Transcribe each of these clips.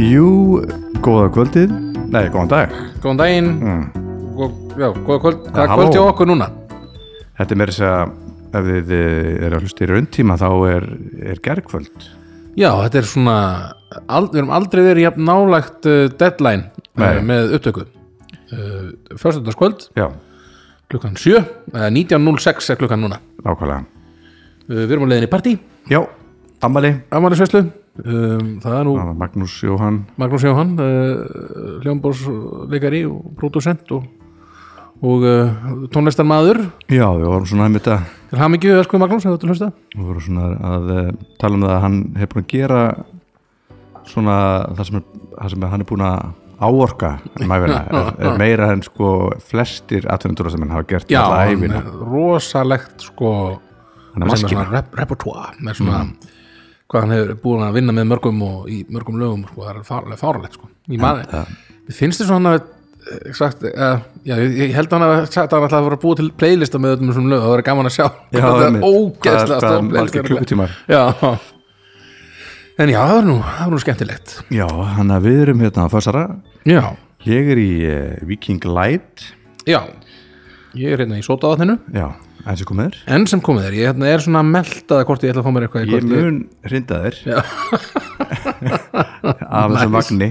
Jú, góða kvöldið Nei, góðan dag Góðan daginn mm. Góð, Já, góða kvöld Það er Halló. kvöld hjá okkur núna Þetta er meira þess að ef þið eh, eru að hlusta í rauntíma þá er, er gerkvöld Já, þetta er svona ald, Við erum aldrei verið jafn nálægt uh, deadline uh, Nei. með upptöku uh, Förstundarskvöld Já, klukkan eh, 7 eða 19.06 er klukkan núna uh, nákvæmlega Við erum á leiðinni í partí Já, ammali Amarisveislu um, Það er nú Það var Magnús Jóhann Magnús Jóhann uh, Hljómbórsleikari og pródusent og, og uh, tónlistarmaður Já, við vorum svona einmitt að Til hamingju, Öskvi Magnús, hefur þetta hlusta við vorum svona að eh, tala um það að hann hefur búin að gera svona það sem, er, það sem hann er búin að áorka mæfina, er, er meira en sko flestir atvinnendurra sem hann hafa gert Já, alla hann æfina er rosalegt sko hann er Mm. sem er maskina svona rep repertoire með svona hvað hann hefur búin að vinna með mörgum og í mörgum lögum sko, það er fárlega fárlegt sko. ég maður, mér finnst þér svona eh, sagt, uh, já, ég, ég held að hann að sagt að hann ætlaði að fara að búa til playlista með öllum þessum lögum, það verður gaman að sjá Já, það einmitt. er ógeðslega Hvað- hvað stór playlist margir örugglega. klukkutímar? já en já, það er nú, það er nú skemmtilegt Já, hann að við erum hérna að farsara já, Ég er í uh, Viking Light já ég er hérna í sótaðatninu Já, eins og komið en sem komið er, ég hérna er svona að melta hvort ég ætla að fá mér eitthvað þér í Ég kvöld. mun hrinda þér Af þessu magni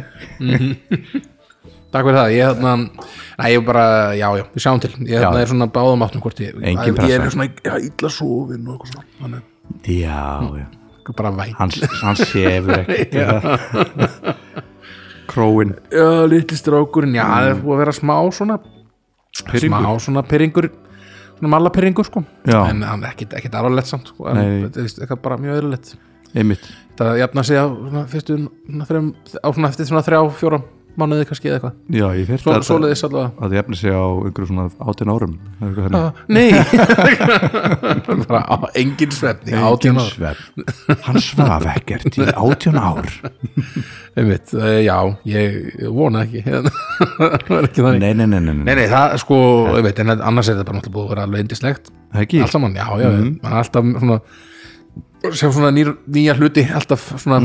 Takk fyrir það, ég hérna Nei, ég bara, já, já, við sjáum til Ég hérna Já. er svona báðum áttum hvort ég Engin ég- Ég pressa. er svona ja, illa sofin og eitthvað svona Þannig, Já, já ég bara væn Hann, hann sefur ekkert Króin Já, litli strákurinn, já, það er búið að vera smá svona Pirringur. Smá svona pyrringur Svona malla pyrringur, sko Já. En hann er ekkit, ekkit alvarlegt samt, sko en, Nei. þetta er víst eitthvað bara mjög öðrulegt Einmitt Það jafna sig á svona fyrstu svona, þrem, Á svona eftir svona þrjá, fjóra mánuði kannski eða eitthvað Já, ég fyrir Svo, að Svoleiðis allavega að ég efni sig á einhverju svona 18 árum eða eitthvað þannig. Nei Bara á engin svefni Engin Engin svefni svefn Hann svaf ekkert í 18 ár Einmitt, uh, já, ég vona ekki það er ekki þannig Nei, nei, nei, nei, Nei, nei. nei, það sko, einmitt, en annars er þetta bara náttúrulega búið að vera alveg indislegt Ekki allt saman, já, já, mm -hmm. alltaf svona sjá svona nýr, nýja hluti alltaf svona,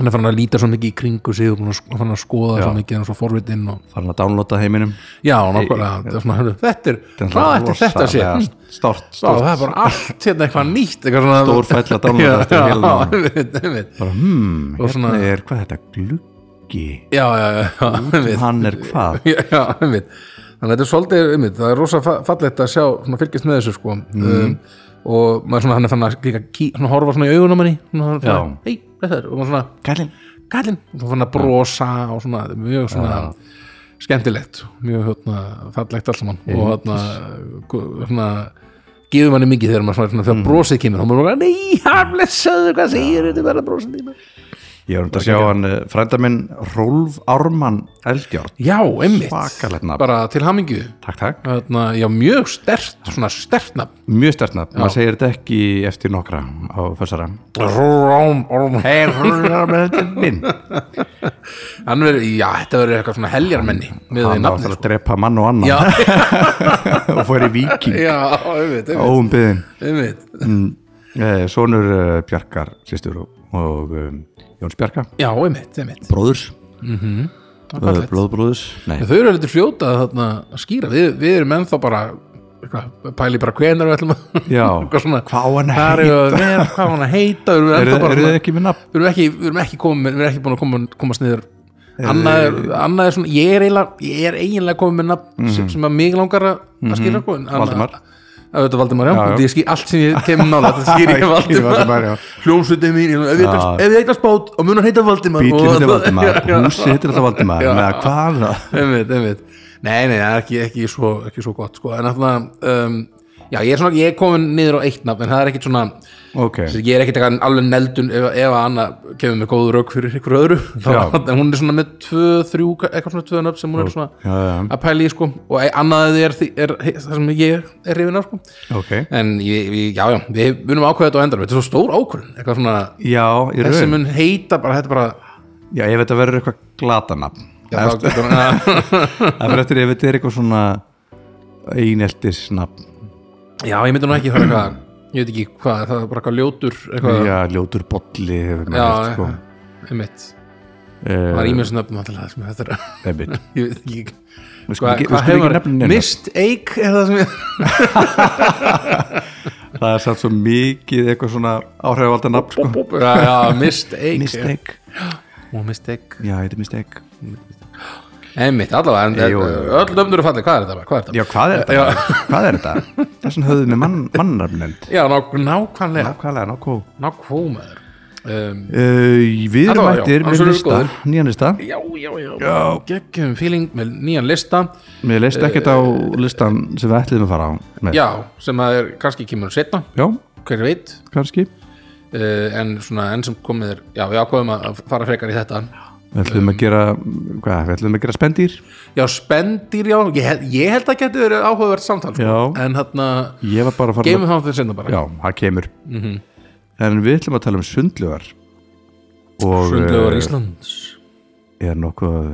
hann er farin að líta svo mikið í kringu sig og búinn að- farin að skoða svo mikið en svo forvitin og, Farin að downloada heiminum já, nákvæmlega, þetta er svona hörðu, þetta er, hvað ætti þetta sé Stort, Já, stort það er bara allt hérna eitthvað nýtt eitthvað svona, Stór fæll að downloada þetta í já, vélina. einmitt, einmitt bara hmm, Og hérna svona- er hvað er þetta gluggi já, já, já, já, einmitt hann er hvað já, já, einmitt þannig að þetta er svolítið, einmitt, það er rosa fa- fallegt að sjá, svona fylgjast með þessu sko Mhm. um, og maður svona hann er fann að líka ký, svona horfa svona í augunum henni svona, Já. svona, hei, þetta er, og maður svona kallinn kallinn, og svona fann að brosa og svona, þetta er mjög svona skemmtilegt, mjög hérna, fallegt allt saman og hérna gu- svona gefur manni mikið þegar maður svona, svona Mm. þegar brosið kemur, þá maður bara, nei, hann blessaður, hvað segir þetta bara brosið tíma ég var um þetta að sjá hann eh, frænda minn Rolf Ármann Eldjárn já, einmitt, Svakalegt nafn. bara til hamingju takk takk Þarna, já, mjög stert, svona stert nafn mjög stertnað maður segir þetta ekki eftir nokkra á fessara Róm, róm hei Rolf Ármann Eldjárn minn Hann verður, já, þetta verður eitthvað svona heljarmenni með því hann var nafni alltaf að sko. drepa mann og Já, annan og fór í viking já, einmitt, einmitt, óum byðin einmitt sonur eh, Bjarkar sýstur og, og um, Jóns Bjarka Já, einmitt, einmitt bróðurs Eh, fallegt. blóðbróðurs nei Þau eru lítið fljóta að þarna skýra Við, við erum ennþá bara eitthvað, pæli bara hvenar við ætlum að Já. eitthvað svona, Hvað á hann að hvar eigum við að vera, hvað á hann að heita Við erum eru ennþá þið- bara eru þið svona- ekki með nafn við erum ekki, við erum ekki, komin, við erum ekki búin að koma, komast niður annað er, annað er svona ég er eiginlega, ég er eiginlega komin með nafn sem, sem að mig langar að mm -hmm. skýra sko, en annað- Mhm. Valdimar. að þetta er Valdimar, já, Já, já. já, já. Ský, allt sem ég kemur nála, þetta skýr Ég ég skýri Valdimar, já. Valdimar hljómsveitið mín, ég- ef ég Já. eignast- ef ég eignast bát og mun hann heita Valdimar Bíllinn og- heitir Valdimar, Já, já. húsið heitir alltaf Valdimar Já. með að hvað er það? einmitt, einmitt. Nei, nei, það er ekki, ekki, svo, ekki svo gott sko. en alltaf um, já, ég er, svona, ég er komin niður á eitt nafn en það er ekkit svona Ok, Þessi, ég er ekkit eitthvað alveg neldun ef, ef að Anna kemur með góð rauk fyrir ykkur öðru þá, Já. en hún er svona með tvö, þrjú eitthvað svona tvö nöfn sem hún er svona Já, já. að pæla í sko og e- annað er, því- er, er það sem ég er hrifin á sko ok en ég, ég, já, já, við munum ákveða þetta á endanum þetta er svo stór ákvörðun, eitthvað svona Já, í þessi raun mun heita bara, þetta er bara Já, ef þetta verður eitthvað glatanafn já, þá, bara- Það verður eftir ef þetta er eitthvað svona eineltisnafn já, ég myndi nú ekki það er eitthvað, ég veit ekki hvað það er bara eitthvað ljótur, eitthvað Já, ljótur bolli hefur maður Já, heyrt, sko. einmitt það er ímjörs nöfnum alltaf sem þetta er Einmitt. ég veit ekki Sko, Við skulum hvað ekki- hva við skulum hefur ekki nefna maður- neina mist eik er það sem ég Það er satt svo mikið eitthvað svona áhrifvalda nafn sko. já, já, mist eik Mistake og mist eik Já, þetta er mistake einmitt allavega en, Jú, jú, jú. öll löfnur er fallið hvað er þetta bara hvað er þetta Já, hvað er þetta? Hvað er þetta? Þessan höfðum við mann, mannarfnend já nák nákvæmlega Nákvæmlega, nákvæm nákvæmlega um, uh, Við erum Alla vega, já, mættir með annars erum við lista góðir. Nýjan lista já, já, já, já. geggjum feeling með nýjan lista Mér leist ekkert á listan sem við ætliðum að fara á með. Eh, já, sem að er kannski kemur setna Já, hver veit kannski uh, en svona enn sem komið er já, við ákvaðum að fara frekar í þetta Við Um. ætliðum að gera, hvað, við ætliðum að gera spendýr já, spendir já, ég, held- ég held að geti verið áhugavert samtal sko. Já. en hérna, Ég var bara að fara geymum Mhm. þá þetta setna bara Já, það kemur En við ætlum að tala um sundlugar Og Sundlaugar eh, Íslands er nokkuð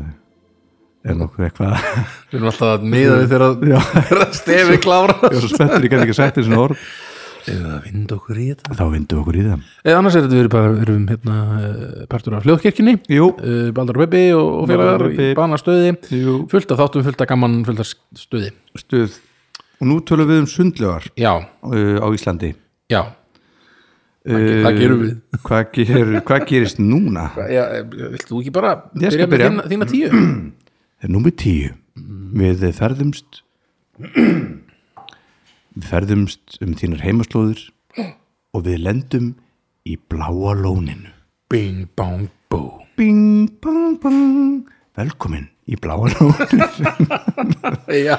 Er nokkuð eitthvað Við erum alltaf að miða við þegar að- þegar að stefi klára Ég er svo spenntur, ég gæti ekki sagt þessin orð Eða að vinda okkur í þetta Þá vindum við okkur í það Eða Eh, annars er þetta verið bara, við erum hérna eh, partur af hljóðkirkjunni Jú, Eh, Baldur og Bebbi og, og félagar Baldur og í Bubbi. banastöði jú fullt af þáttum, fullt af gaman, fullt af stöði Stuð Og nú tölum við um sundlugar Já, uh, á Íslandi já, uh, það gerum við hvað, ger, hvað gerist núna? já, eh, Vilt þú ekki bara Ég skal byrja byrja. með þína, þína tíu? Það er númið tíu Við ferðumst Við ferðumst um þínar heimaslóðir Og við lendum í bláa lóninu Bing, bong, bú Bing, bang, bang Velkomin í bláa lóninu Já,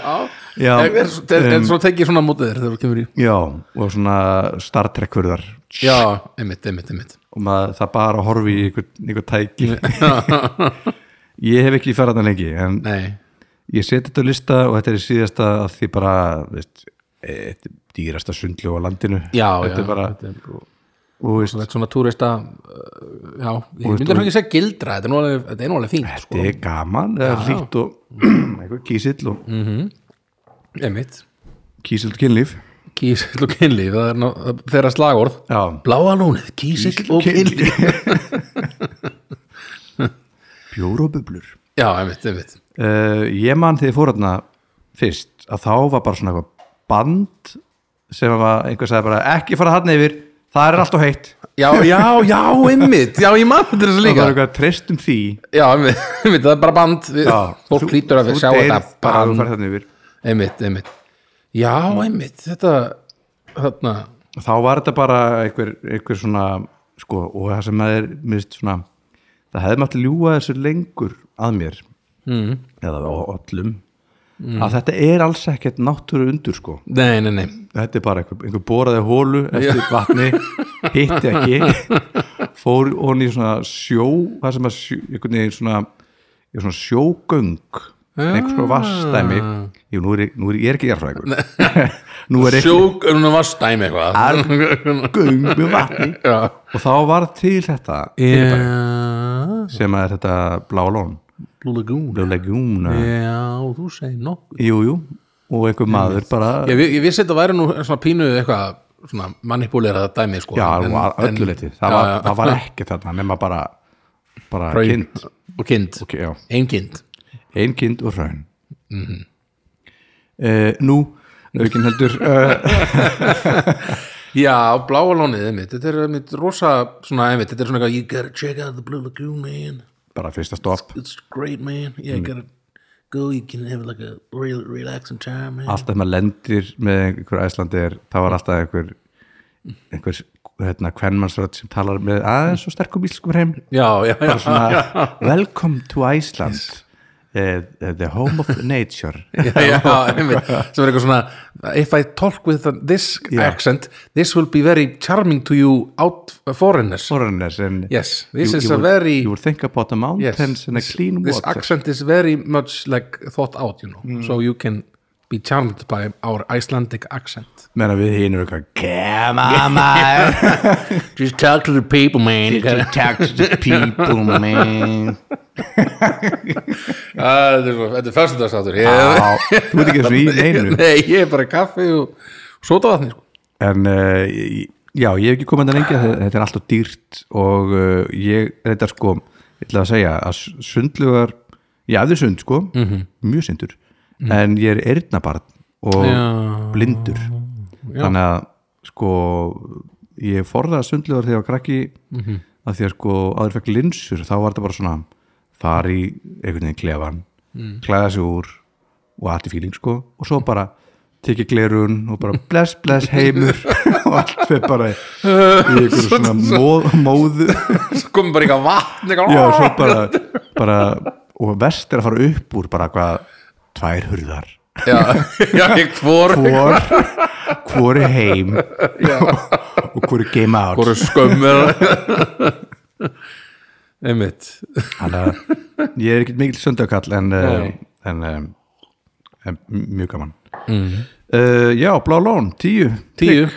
Já, en, en, en, en svo tekið svona mótið þér þegar þú kemur í Já, og svona Star Trek hurðar Já, einmitt, einmitt, einmitt og maður, það bara horfi í einhver, einhver tæki Ég hef ekki farað það lengi en Nei, ég seti þetta á lista og þetta er í síðasta af því bara veist, e, þetta er dýrasta sundlu á landinu já, þetta já er bara þetta er bara- og, veist, Þú veit, svona túrista uh, já, ég myndi að ekki segja gildra þetta er nú alveg, þetta er nú alveg fínt sko. þetta er gaman það er hlýtt og eitthvað kísill og einmitt, kísill og kynlíf kísill og kynlíf það er ná, það- þeirra slagorð já, bláa lónið, kísill og kynlíf bjór og bublur já, einmitt, einmitt uh, ég man þegar ég fór hérna fyrst að þá var bara svona eitthvað band sem var einhver sagði bara ekki fara hann yfir, það er allt og heitt já, já, já, einmitt, já, ég mann þetta þessu það líka var eitthvað treystum því já, einmitt, einmitt, það er bara band við, fólk hlýtur að við sjá þetta band band einmitt, einmitt já, einmitt, þetta þarna, þá var þetta bara einhver, einhver svona sko, og það sem maður mist svona það hefði maður ljúga þessu lengur að mér mm. eða á öllum Mm. að þetta er alls ekkert náttúru undur sko. nei, nei, nei þetta er bara einhver, einhver boraði hólu eftir vatni, hitti ekki fór hon í svona sjó það sem að sjó, einhvern veginn svona, ég svona sjógöng Ah. einhvers konar vastæmi Jú, nú er, ég- nú er ég- ég er ekki jarfræðingur nú er ekki sjók, er hún að vastæmi eitthvað göng með vatni já og þá var til þetta Yeah, sem að er þetta blálón Blue Lagoon legúna, Já, þú segir nokkuð jú, jú og einhver maður bara Ég, vi- ég vissi þetta væri nú svona pínu eitthvað svona manipulera dæmi sko já, en- en, en- öllu leiti, það, Já, var- já. það var ekki þarna nema bara, bara Hraun. kind Og kind, okay, já. ein kind ein kind og hraun Mhm. eh, nú aukin heldur uh, Já, bláa lónið einmitt, þetta er einmitt rosa svona einmitt, þetta er svona eitthvað You gotta check out the Blue Lagoon man bara fyrsta stopp It's great man, yeah, Mm. you gotta go You can have like a real relaxing time man alltaf maður lendir með einhver æslandir þá var alltaf einhver einhver hérna kvenmannsrödd sem talar með aðeins og sterkum íslenskum hreim Já, já, já, svona, welcome to Iceland uh, uh, the home of nature já, já einmitt, sem er eitthvað svona if I talk with this accent this will be very charming to you out foreigners foreigners and Yes, this you, is you a will- very- you will think about the mountains yes, and a clean this water accent is very much like thought out you know, so you can be charmed by our Icelandic accent meðan að við hinum eitthvað come on man just talk to the people man to talk to the people man Ah, þetta er svo- þetta er fyrstundastáttur Á, þú veit ekki þessu í neinu nei, ég er bara í kaffi og sota vatni sko. en uh, ég- já, ég hef ekki komið eh, þetta lengi þetta er alltaf dýrt og uh, ég, þetta er sko ég ætla að segja að sundlugar ég æfði sund sko, mjög sundur en ég er eyrnabarn og Já. blindur þannig að sko ég forðaði sundlugar þegar ég var krakki að því að sko áður fekk linsur þá var þetta bara svona fara í einhvern veginn klefan klæða sig úr og allt í fíling sko og svo bara tekið glerun og bara bless bless heimur og allt fyrir bara í einhverju svona móð, móðu komum bara eitthvað vatn eitthvað, Já, svo bara, bara og vest er að fara upp úr bara hvað tvær hurðar já, já, ég hvor hvor, hvor er heim og hvor er game out hvor er skömmur einmitt Þannig að ég er ekkert mikil söndagkall en, uh, Nei. en, um, en mjög gaman uh, Já, blá lón, tíu Mhm. tíu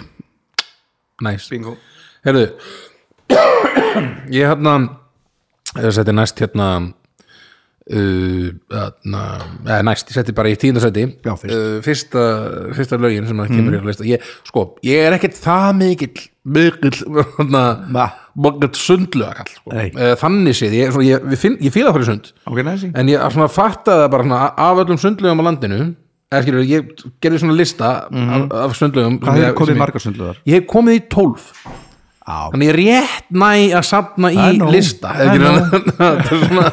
næst Bingo Herðu, ég hérna ég seti næst hérna uh, hérna, eða næst, ég seti bara í tíundarsæti Já, fyrst. Mhm. fyrsta, fyrsta lögin sem að kemur mm. í lista ég, sko, ég er ekkert það mikill mikill hérna, Ma. mikill sundlögakall sko. Nei. Eh, þannig séð, ég, svona, ég, ég, finn, ég fíla fyrir sund Ok, næsi Eh, en ég svona fattaði það bara svona, af öllum sundlögum á landinu eða skilur, ég gerði svona lista af, af sundlögum sem Mhm. Hvað ég- hefur eh, sem komið ég- margar sundluðar? Ég hef komið í tólf Á, Þannig ég rétt næ að safna í er nóg. lista Það er Ekki nefna- Þetta er svona,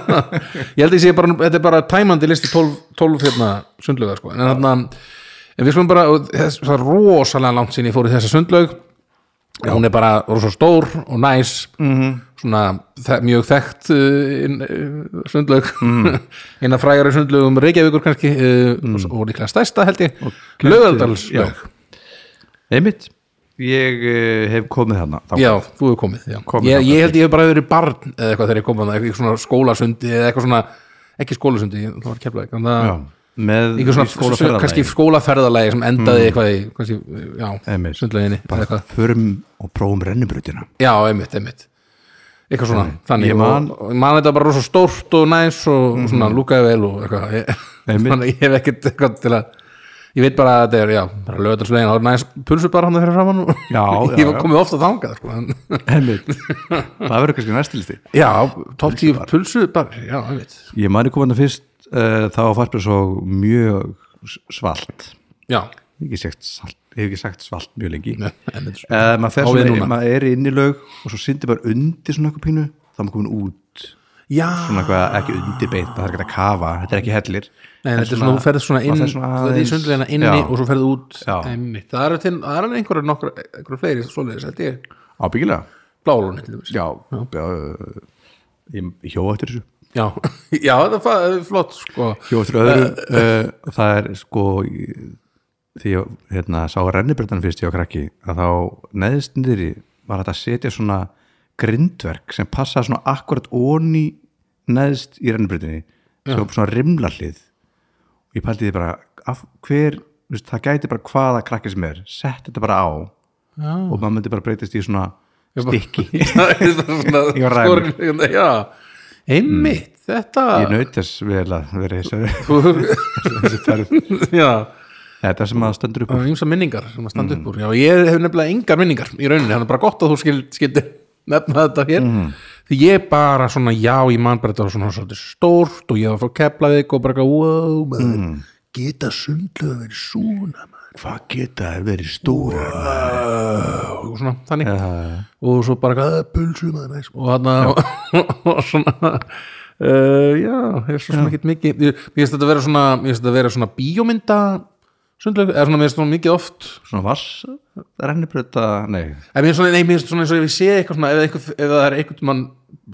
Ég held að ég sé bara, þetta er bara tæmandi listi 12, 12 hérna sundlaugar sko. en, þarna, en við skulum bara og þess, það er rosalega langt sín ég fór í þessa sundlaug hún er bara rosa stór og næs -hmm. Mhm. svona þe mjög þekkt uh, inn, uh, sundlaug Mhm. mm. eina frægari sundlaugum Reykjavíkur kannski uh, og, og líklega stærsta held ég já. Laugardalslaug einmitt Ég uh, hef komið þarna þá. Já, þú hefur komið, já. Komið ég, þangað ég held ég hef bara verið barn eða eitthvað þegar ég kom að það, eitthvað svona skólasundi eða eitthvað svona, ekki skólasundi ég- það var keflaði, þannig að Já, Með eitthvað svona, í Mm. skólaferðalagi. kannski skólaferðalagi sem endaði eitthvað í, kannski, já, Einmitt. sundleginni eða bara eitthvað, förum og prófum rennubrutina já, einmitt, einmitt eitthvað svona, þannig Ég man- Mhm. og, og ég man þetta bara rosa stórt og næs og svona lúkaði vel og eitthvað ég, Einmitt. þannig að ég hef ekkert eitthvað til að ég veit bara að þetta er, já, bara lögðarslegin og næs pulsu bara hann fyrir framann og Já, já, ég hef já. komið ofta þangað sko, en einmitt það verður kannski næstilisti Já, topp 10 pulsu bara, já, ég veit ég mani kom hann fyrst uh, þá var farpið svo mjög svalt Já, Ég hef ekki sagt salt, ég hef ekki sagt svalt mjög lengi Nei, einmitt. uh, maður, fer Á við svona, núna. maður er inn í laug og svo syndir bara undir svona eitthvað pínu þá er maður komin út já svona eitthvað ekki undir beint það er ekki að kafa, þetta er ekki hellir Nei, En þetta er svona, þú ferð svona inn maður fer þú svona ferð í aðeins- sundleina inni Já. og svo ferð út Já. einmitt, það eru til, það eru einhverju nokkur einhverju fleiri svoleiðis, held ég ábyggilega blálóni til þess já, já. Uh, ég hjó eftir þessu Já, já, það er fa- flott sko Jó, eftir öðru, uh, það er sko í- því ég hérna, sá rennibreytan fyrst ég á krakki að þá neðist nýri var þetta að setja svona grindverk sem passa svona akkurat onni neðist í rennibreytinni sem var svona rimlarlið og ég pælti því bara af, hver, þú veist, það gæti bara hvaða krakki sem er, sett þetta bara á Já. og maður myndi bara breytist í svona stikki Það er bara svona Ég var ræmur. skorin- Já, einmitt, þetta ég naut þess vel að vera í þessu- þessu ferð Já, þetta sem að stendur upp úr. Mm. það er ímsa minningar sem að standa upp úr Já, ég hef nefnilega engar minningar í rauninni þannig er bara gott að þú skil- skildir nefna þetta hér Mm. því ég bara svona, já, ég man bara þetta var svona svolítið stórt og ég var frá keplaðið og bara eitthvað, wow, maður geta sundlega verið svona maður Mm. hvað geta það verið stóra og svona, þannig og svo bara eitthvað, "Að, pulsu maður næs sko." og þarna og svona uh, já, ég er svo svona ekkert mikið ég ég finnst þetta að vera svona, ég finnst þetta að vera svona bíómynda sundlega, eða svona, mér finnst þetta mikið oft svona vass rennibröta, nei En mér er svona, nei, mér er svona eins og ef ég sé eitthvað svona, ef, eitthvað, ef það er eitthvað mann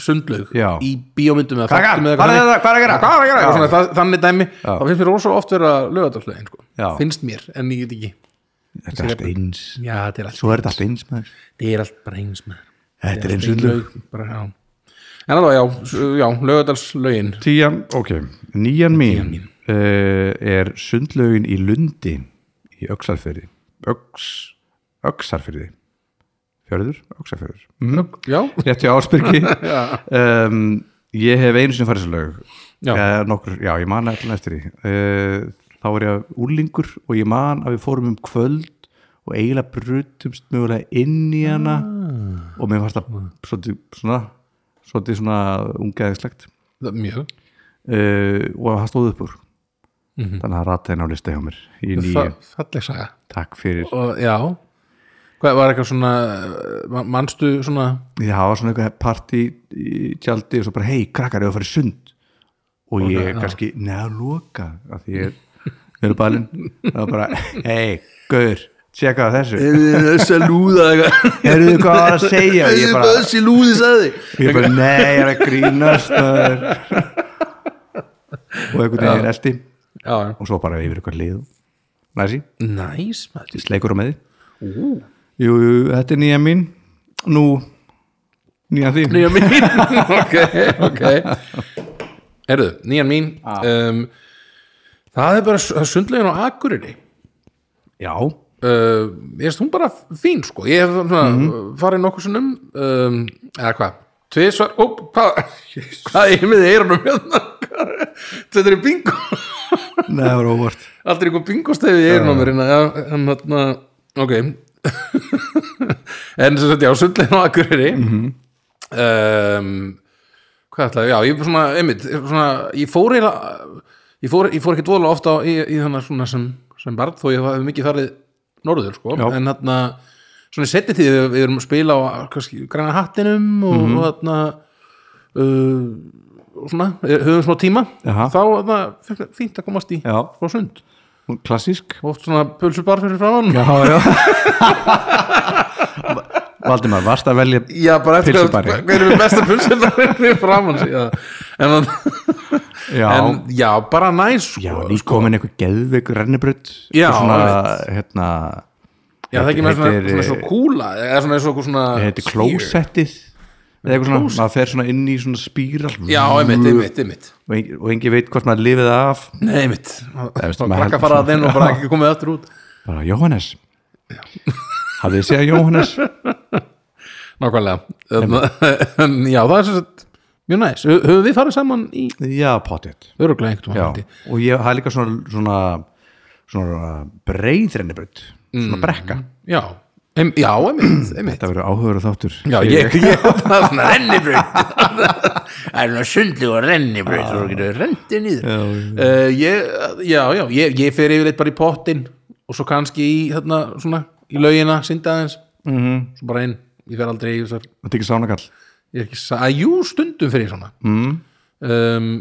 sundlaug Já. í bíómyndum eða Krakkar, þáttum eða hvað er þannig- þetta? Hvað er að gera? Hvað er að Já. gera? Eitthvað Svona, það, þannig dæmi, Já. þá finnst mér rosa oft vera lögadalslaugin, sko. Já. Finnst mér, en ég get ekki. þetta er allt eins Já, þetta er allt, svo er þetta allt eins maður þetta er allt bara eins með þetta er eins sundlaug Bara, já. En alveg, já, s- já, lögadalslaugin. tíjan, ok, nýjan mín, Uh, er sundlaugin í Lundi í Öxarfyrði Öx, Öxarfyrði fjörður, Mhm. Öxarfyrður Já, rétti áspyrki um, ég hef einu sinni farið þessu laug Já. Eh, nokkur, já ég man allan eftir því uh, þá var ég úlingur og ég man að við fórum um kvöld og eiginlega Ah. brutumst mögulega inn í hana og mér fannst það svolítið svona svolítið svona ungeðislegt það- mjög uh, og það stóð upp úr þannig að rata henni á listi hjá mér í nýju, Mhm. Fa- falleg saga takk fyrir og já hvað var eitthvað svona man- manstu svona Já, það var svona eitthvað partí í tjaldi og svo bara, hei, krakkar, eða farið í sund og ég já. kannski neða loka, af því ég er eru balinn, það var bara hei, gaur, tjekka á þessu þess að lúða Herðu hvað var að segja og ég bara, þessi lúði sagði ég bara nei, ég er að grínast maður." og einhvern veginn er eldi já, og svo bara yfir eitthvað lið næsi, næs maður. sleikur á með því jú, jú, þetta er nýja mín nú, nýja þín nýjan mín ok, ok erðu, nýjan mín um, það er bara s- það er sundlegin á Akureyri já, uh, ég veist hún bara fín sko ég hef svona, farið nokkuð sinnum um, eða hvað tvisvar, ó, hvað hvað er með eyrunum hérna þetta er í bingo Nei, það var óvart allt er eitthvað bingostefið í eyrunum mér hérna, já, en þarna, ok en sem sagt já, sundlegin á Akureyri Mhm. um, hvað ætlaði, já, ég svona, einmitt, svona, ég fór eiginlega ég fór, ég fór ekki dvola ofta í, í þannig svona sem, sem barn, þó ég hafði mikið farið norður, sko, Já. en þarna svona seti því við, við erum að spila á kannski, græna hattinum og, Mhm. og þarna uh, og svona, höfum smá tíma Jaha. þá þarna, fínt að komast í Já. smá sund, Klassísk oft svona pulsubar fyrir framann Já, já Valdimar, varst að velja Já, bara eftir hvað Pylsubari. hver er besta pulsubarinn fyrir framann sig, já. en þannig Já, en já, bara næs sko. já líka komin einhver geðveik rennibrut Já, svona, einmitt. hérna já það er ekki með svona, heitir, svona, svona kúla eða svona eins og einhver svona Heitir sphere. klósettið eða eitthvað svona, maður fer svona inn í svona spíral já, einmitt, einmitt, einmitt og engi, og engi veit hvort maður lifið af nei, einmitt, veist, þá maður krakka heldur fara svona- að þinn og bara ekki komið aftur út bara Jóhannes hafið þið séð Jóhannes nákvæmlega Hérna, En- en já, það er sem sagt mjög næs, Hö- höfum við farið saman í já, potið öruglega einhvern Já, veginn held ég. og ég hafði líka svona, svona, svona breið rennibrut Mm. svona brekka já, Ein, já, einmitt, einmitt þetta verður áhugaður þáttur já, ég, ég það er svona rennibraut það er svona sundlu og rennibraut og þú getur rendið niður Já, Uh, ég, já, já, ég, ég fer yfirleitt bara í pottin og svo kannski í, þarna, svona, í laugina, synda aðeins mm -hmm. svo bara inn, ég fer aldrei í þessar þetta er ekki sánakall ég er ekki sa- að jú, stundum fer ég svona mm. um,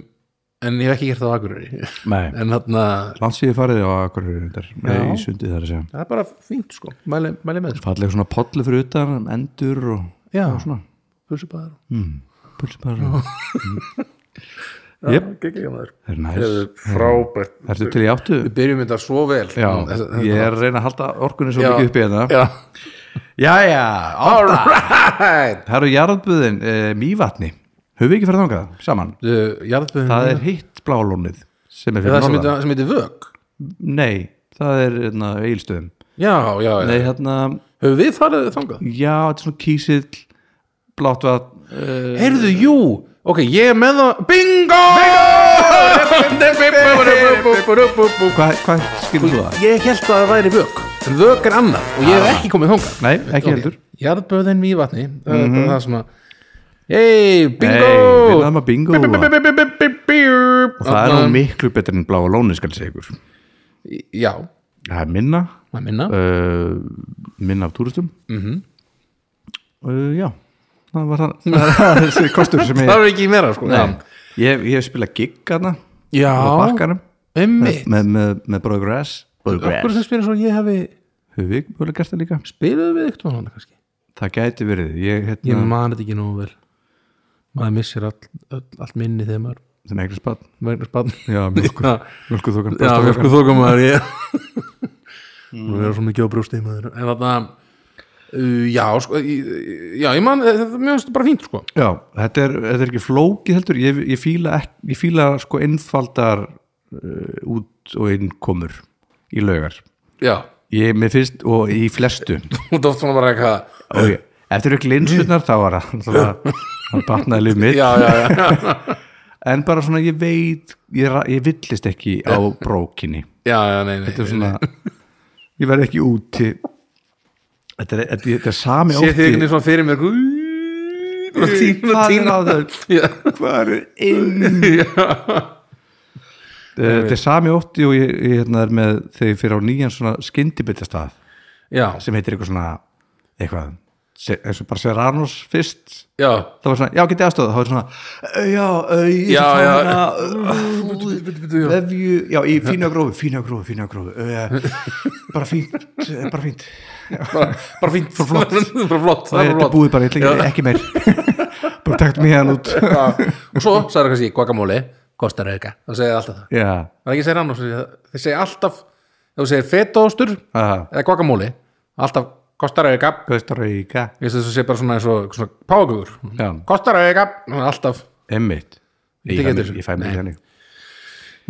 en ég hef ekki gert það á Akureyri nei, en þarna, landsíði Eh, farið á Akureyri reyndar, Já. nei, í sundið þar að segja það er bara fínt sko mæli, mæli með þessu falleg svona pollu fyrir utan, endur og, já, og svona pulsubaðar mm. pulsipar og Jep. það er næst frábært Ertu til í áttu? við byrjum þetta svo vel Já, Mm, Þess- ég er að reyna að halda orkunni svo Já. mikið upp í hérna. þetta já. Jæja, all right það eru jarðbúðin e, Mývatni, höfum við ekki fyrir þangað saman? jarðböðin Það er hitt blálónið sem er Mm. það fyrir sem norðan heitir- sem heitir vög Nei, það er hérna, eilstöðum já, já, já Nei, hérna, Hefur við farið þangað? já, þetta er svona kísill blátt vat uh, Heyrðu, jú, ok, ég er með það Bingo! Hvað hva skilur þú það? Ég held að það væri vök En vök er annað og ég hef ekki komið þangað Ah. Nei, ekki heldur Jarðböðin Mývatni Það er bara það sem að Hey, bingo! Nei, við náðum að bingo það. Og það er nú Þarna- miklu betur en bláa lónið skal ég segja ykkur Já, Það er minna maður minna uh, Minna af túristum mm Mhm. uh, Já, það var það það er Þessi kostur sem Það ég er ekki meira, sko Nei, Ég, ég hef spilað gig hana Já, á bakkanum emmi með, með, með Bróður Grass Akkur sem spyrir svo að ég hefði Hefur við mjögulega gert það líka? Spiluðu við eitthvað hann kannski Það gæti verið, ég Ég hérna man þetta ekki nógu vel Maður missir all, all, allt minni þegar maður sem eignar spatt verður spann Já, mjölku, Já, mjölku þokan já mjölku þóka maður ég Nú er það svo mikið á brjósti maður En þarna uh, Já, sko, í- já, ég man eh, þetta er mjög bara fínt, sko Já, þetta er, þetta er ekki flókið heldur ég, ég, fíla, ek, ég fíla sko innfaldar uh, út og innkomur í laugar Já, ég, mér finnst, og í flestu þú dótt svona bara eitthvað okay. eftir ekki linsunar þá var það náttúrulega- hann batnaði lið mitt Já, já, já, en bara svona ég veit ég, ra- ég villist ekki á brókinni já, já, nei, nei þetta er svona ég verð ekki úti þetta er, þetta er, þetta er sami Sér þið ótti ekki svona fyrir mér eitthvað, Og tína, hvað er tína. á þau Já. hvað er inn Já. Eh, þetta er sami ótti og ég, ég hérna er með þegar ég fyrir á nýjan svona skyndibitastað já, sem heitir eitthvað svona eitthvað, se- eins og bara Serranos fyrst já það var svona, já getið aðstöð, það var svona "Eh, já, ö, ég Já, já. Uh, er svona Bíddu, bíddu, bíddu, já. vefju, hérna, eh, já, í fína grófi fína grófi, fína grófi ö, Eh, bara fínt, ö, bara fínt bara, bara fínt bara flott, bara flott. það er þetta búið bara, ég ætla ekki, ekki meir bara takt mér hann út og svo sagði kannski guacamole kostar auka, það segja alltaf það já, það er ekki að segja rann þeir segja alltaf, þegar þú segir fetostur Aha. eða guacamole, alltaf kostar auka Costa Rica ég veist þessu sé bara svona eins og svona páagugur, Já. kostar auka alltaf, emmitt, ég, Þetta fæ getur- mér- hérna. ég fæ mér í henni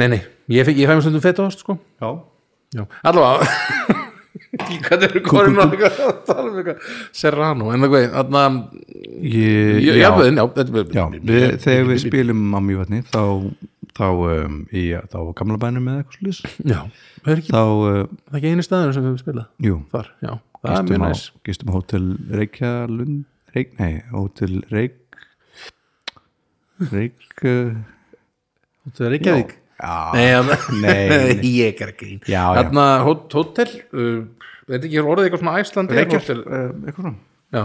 nei nei ég, fe- ég fæ mér stundum fetost sko já, Já, allavega Hvað eru komin á eitthvað að tala um eitthvað Serrano, en það veið Þannig að ég, Já, jafnvegðin, já, þetta Já, við, þegar við spilum á mjögvætni þá, þá, um, í, þá á gamla bænum eða eitthvað slúðis Já, það er ekki, þá, uh, það er ekki einu staður sem við spila jú Þar, já, það er mjög gistum á, næs gistum á hótel Reykjalund Reyk, nei, hótel Reyk Reyk uh, Það er Reykjavík Já, Nei, þarna- Nei, nei. ég er ekki Já, já. Þarna, hó- hótel uh, Þetta er ekki orðið eitthvað svona Æslandi Reykjal hótel uh, eitthvað svona. Já,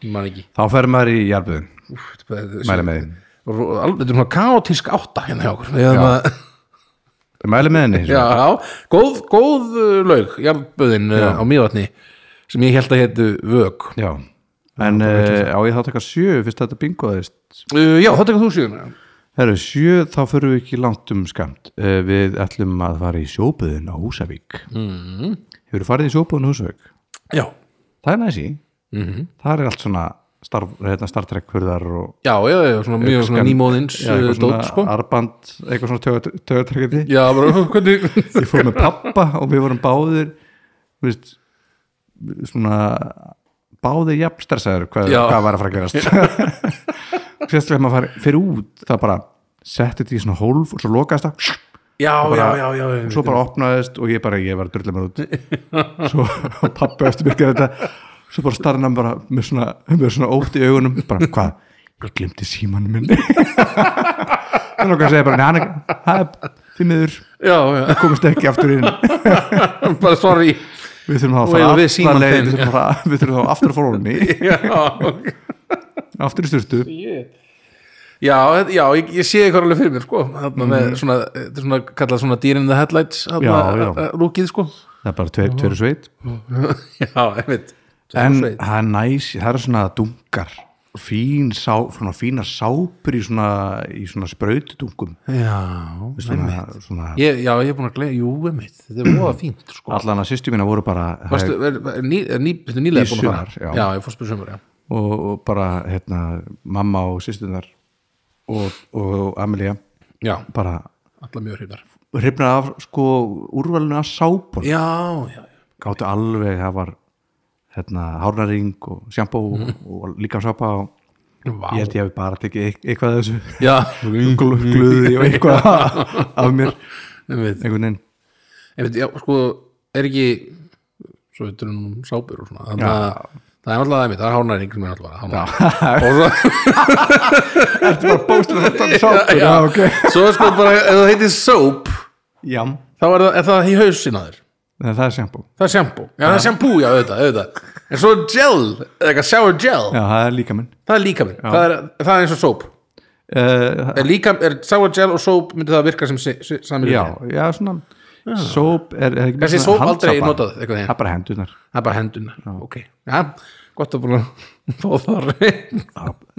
ég man ekki Þá fer maður í jarbuðin, Úff, þetta er- mæli með þinn Ro- alveg- Þetta er svona kaotísk átta hérna hjá okkur Við erum að Mæli með henni Já, góð, góð uh, laug, jarðböðin uh, á Mývatni sem ég held að hétu Vög uh, Já. En uh, á ég þá taka sjö fyrst þetta bingoðist Uh, Já, þá tekur þú síðan Herru, sjö, þá förum við ekki langt um skamt. Uh, við ætlum að fara í sjóbuðin á Húsavík. Mm. Mhm. Hefur þú farið í sjóbuðin á Húsavík? Já, Það er næsi. Mm Mhm. -hmm. Það er allt svona starf, hérna, startrekkfurðar og já, já, já svona mjög svona nýmóðins Já, uh, eitthvað dót, sko arband, eitthvað svona tögatrekkiti. Já, bara, hvernig Ég fór með pappa og við vorum báðir, þú veist, svona báðir jafn stressaður hvað, Já. hvað var að fara að gerast. Sérstaklega ef maður fari- fer út, það bara setti þetta í svona hólf og svo lokaðist það Já, já, bara- já, já, já svo bara opnaðist og ég bara, ég var að drulla mér út svo og pappi eftir mér gerði þetta svo bara starði hann bara með svona, með svona ótt í augunum bara, hvað, ég glemti símanum minn þannig að hann segja bara neða, það er því miður Já, já, komist ekki aftur inn bara sorry við þurfum þá að Og eigum fara við símann leið, þinn. við þurfum, að fara, við þurfum þá aftur að fara ofan í, Já, ok. aftur í styrtu já, þetta- já ég, ég sé eitthvað alveg fyrir mér, sko þarna með svona, eh, þetta er svona, kallað svona Deer in the Headlights, Já, já. þarna, lúkið, sko það er bara tveir, tveir sveit Já, einmitt en Sveit. það er næs, það eru svona dungar fín sá, svona fínar sápur í svona, í svona sprautudungum Já, svona, svona Ég, já, ég er búin að gleyja, jú, einmitt, þetta er móða fínt sko. allan að sýstu mína voru bara Varstu, er, er, ný, er ný, þetta er nýlega Í búin að fara sumar, já. já, ég fórst byrjum sumar, já og, og bara hérna, mamma og sýstunar og, og, og Amelia Já, bara alla mjög hrifnar hrifnaði af sko úrvalinu að sápun Já, já, gáttu alveg, það var hérna, hárnaring og sjampó og, og líka sápa og Vá. ég held ég hefði bara tekið eit- eitthvað af þessu já Gl- gluði og eitthvað af mér einmitt, einhvern veginn einmitt, já, sko, er ekki svo við turum um sápur og svona þannig að það er alltaf einmitt, það er hárnæring sem er alltaf hárnæring Þetta var bóstur að þetta sápur Já, ok Svo er sko bara, ef það heitir soap Já, þá er það, er það í hausin að þér en það er sjampó Það er shampoo, já, það er shampoo, já, auðvitað, auðvitað En svo er gel, eða eitthvað shower gel Já, það er líka minn Það er líkaminn, það er, það er eins og soap uh, er líkam, er sour gel og soap myndi það virka sem si- si- sami Já, hlutur? já, svona Sóp er, er ekki Þessi svona soap aldrei handsápa? notað eitthvað Það þeim, er bara hendunar það er bara hendun ok, já, gott að búin að fá það á hreint.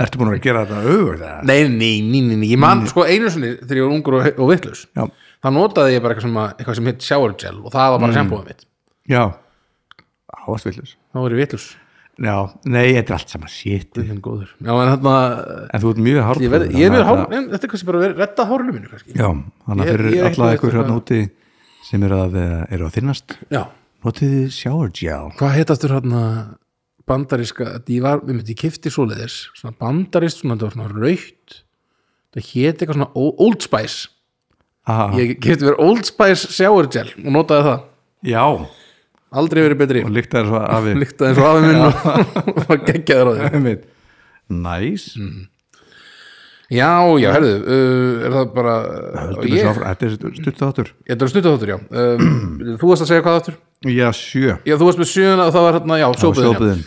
Ertu búin að gera þetta auðvöld það? nei, nei, nei, nei, nei, ég man sko einu sinni þegar ég var ungur og, og vitlaus Já, þá notaði ég bara eitthvað sem, að- eitthvað sem hitt shower gel og það var bara mm. sjampóðum mitt já Ávastvillus þá var ég vitlaus, Já, nei, þetta er allt saman shit það er góður já, en þarna, En þú ert mjög hálf ég, verð, ég er verið hár en, þetta er kannski bara verið rettað hárlu mínu kannski Já, þannig að Ég- ég fyrir er ekki alla að ykkur vita hérna úti sem eru að, eh, eru að þinnast já, notið þið shower gel hvað hetastur hérna bandaríska, ég var, við myndi, ég kifti svoleiðis, svona bandarískt, svona, þetta var svona raukt það héti eitthvað svona O- Old Spice, Aha, ég kifti mér Old Spice shower gel og notaði það, Já, og aldrei verið betri líktaði svo afi líktaði eins og afi minn og var geggjaður á því Einmitt. næs Mm. já, já, herðu, uh, er það bara Höldum þessu áfram. þetta er stutt þáttur Þetta er stuttu þáttur, já um, Þú varst að segja hvað þáttur? já, sjö Já, þú varst með sjöuna og það var hérna, já, sjóbuðin sjóbuðin.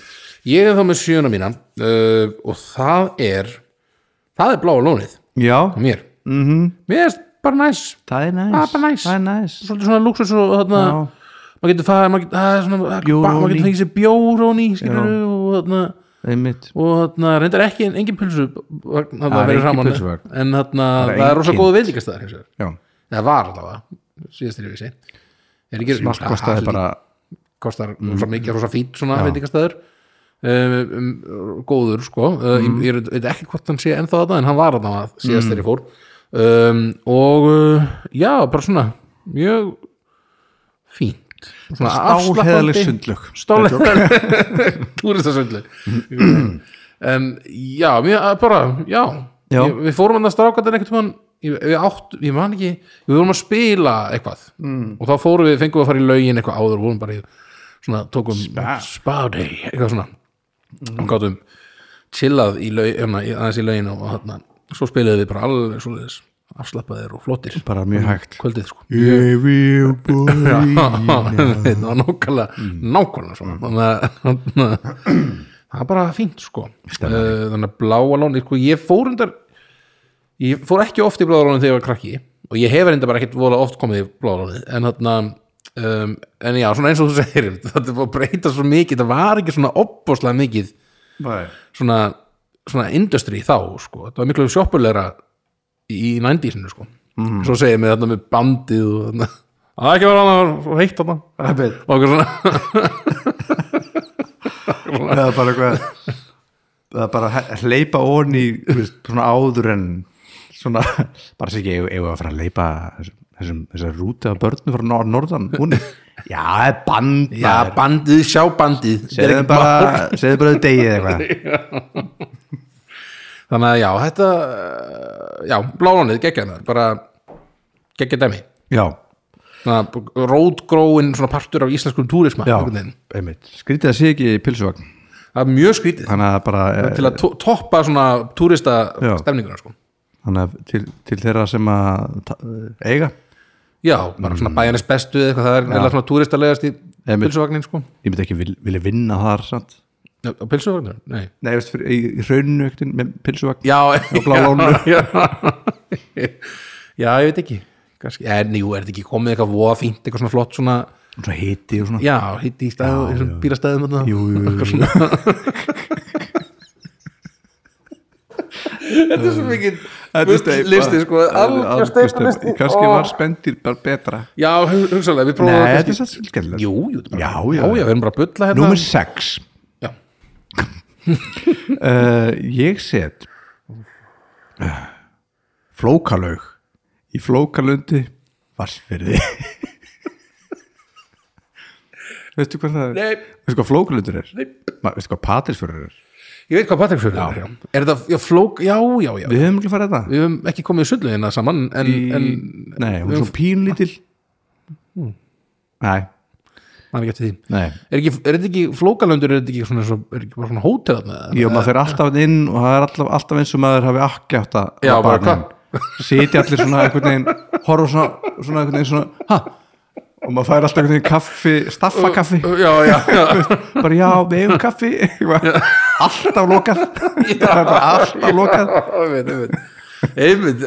Ég er þá með sjöuna mína uh, og það er það er bláa lónið já, á mér mm Mhm. -hmm. Mér er bara næs það er næs Það er Ah, bara næs. það er næs svolítið svona lúksus og þarna Já. maður getur farið, maður getur það er svona, Bjór ba- maður ofan í. getur fengið sér bjór og ný skilur og þarna einmitt og þarna reyndar ekki engin pulsu þarna Það er verið engin saman pylsuvagn. en þarna er það er rosa engin. góð veitingastæðar hins vegar já, það var allavega síðast til ég vissi er ekki Ah, smalt kostaði bara Mm. kostar rosa mikið rosa fít svona veitingastæður um, um, góður sko uh, mm. ég, ég veit ekki hvort hann sé ennþá þetta en hann var þarna Mm. síðast þegar ég fór um, og uh, já bara svona mjög fínt svona áheðaleg afslappandi- sundlög stáleðaleg túristasöndlu um, já, mjög að bara já, Já. Ég, við fórum hann að stráka þetta einhvern tímann ég, við átt, ég man ekki við vorum að spila eitthvað og þá fórum við, fengum við að fara í laugin eitthvað áður og vorum bara í svona, tókum spa, day, eitthvað svona og gáttum chillað í laug, hérna, í- aðeins í laugin og hérna, svo spilaði við bara alveg svoleiðis afslappaðir og flottir bara mjög hægt kvöldið sko If you believe það var nákvæmlega nákvæmlega svona þannig að það er bara fínt sko Eh, þannig að bláa lónið sko, ég fór undar ég fór ekki oft í bláa lónið þegar ég var krakki og ég hefur enda bara ekkert vola oft komið í bláa lónið en þarna um, en já, svona eins og þú segir þetta var að breyta svo mikið, það var ekki svona opbóslega mikið Nei. svona, svona industry þá sko, þetta var miklu sjoppulegra í 90-sinu sko svo segir mér þarna með bandið og þarna að það ekki var annað, það var svo heitt þarna og eitthvað svona, það er bara eitthvað það er bara að hleypa onni svona áður en svona, bara sér ekki, eigum eigum við að fara að leipa þessum, þessar rúti af börnum frá nor norðan, hún er já, það er band já bandið, sjá bandið þetta er segðu ekkert bara, mál. segðu bara þau degið eitthvað þannig að já, þetta eh, já, blálónið, geggjaðnar bara geggjað dæmi já, rótgróin svona partur af íslenskum túrisma já, einhvern veginn. einmitt skrítið að sé ekki pilsuvagn það er mjög skrítið þannig að bara til að to- toppa svona túrista Já. stemninguna sko þannig að til, til þeirra sem að ta- eiga Já, bara svona bæjarnes bestu eða eitthvað, það er eða svona túristalegast í Mm. Einmitt. pilsuvagnin sko ég myndi ekki vil, vilja vinna þar samt. Já, á Pilsuvagnin? Nei nei, veist, fyrir, í, í raunvöktin með pilsuvagn Já, Bláa Lóninu. já, já. já, ég veit ekki Kanski, en jú, er þetta ekki komið eitthvað voða fínt, eitthvað svona flott svona svona hiti og svona Já, hitt í stæðu, þessum bílastæðum þarna. Jú, jú, jú, Eitthvað svona. Þetta er svo mikið Þetta er steip, listi, að- sko, að- algjör algjör steypalisti. steip. kannski Ó. var spendir bara betra Já, hu- hugsalega, við prófum Nei, það þetta kannski. er satt skemmtilegt Jú, jú, þetta er bara- Já, já. já, við erum bara að bulla hérna Númer 6 Já, uh, Ég set uh, Flókalaug Í Flókalundi Vassfyrði Veistu hvað það er? Nei. Veistu hvað Flókalundur er? Nei. Ma, veistu hvað Patrísfjörður er? ég veit hvað Patricksfjörður er já. Er þetta, já, flók, já, já, já Við höfum ekki farið þetta Við höfum ekki komið í sundlaugina saman en, Í, en Nei, hún er svo pínlítil Nei, maður ekki eftir því nei Er, ekki, er þetta ekki flókalöndur, er þetta ekki svona, svona, er ekki bara svona hótel með Jó, maður fyrir alltaf þarna inn og það er alltaf, alltaf eins og maður hafi akki átt að Já, að bara barnum. sitja allir svona einhvern veginn horfa svona, svona einhvern veginn svona ha? og maður fær alltaf einhvern veginn kaffi staffakaffi, Já, já, já, bara já, við eigum kaffi alltaf lokað það er bara alltaf lokað einmitt, einmitt Einmitt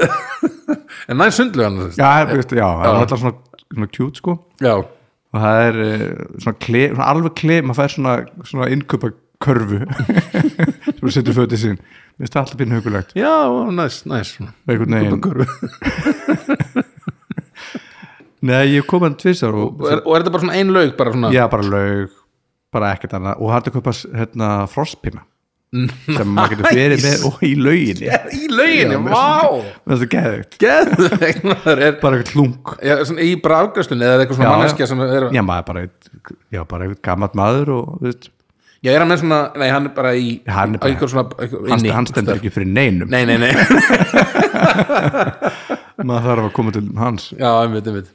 En næ sundlaugina já, veistu, já, það er alltaf svona, svona cute sko já, og það er eh, svona, kle, svona alveg kle, maður fær svona, svona innkaupa körfu sem maður setur fötið sín mér finnst það alltaf býrn hugulegt já, næs, næs svona. einhvern veginn Nei, ég kom hann tvisar og Og er, og er þetta bara svona ein laug bara svona já, bara laug bara ekkert annað og hætti að kaupa hérna, frostpinna Mm. sem maður getur fyrir með og í lauginni Er Í lauginni, vá það er svo geðugt, Geðvegt maður er bara eitthvað hlung Já, svona í bara afgræstunni eða er eitthvað svona Já, manneskja sem er já, maður er bara eitt, já, bara eitt gammalt maður og þú veist, Já, er hann með svona, nei, hann er bara í Hann er á bara- einhver svona, einhver, hann, hann stendur ekki fyrir neinum Nei, nei, nei, maður þarf að koma til hans já, einmitt, einmitt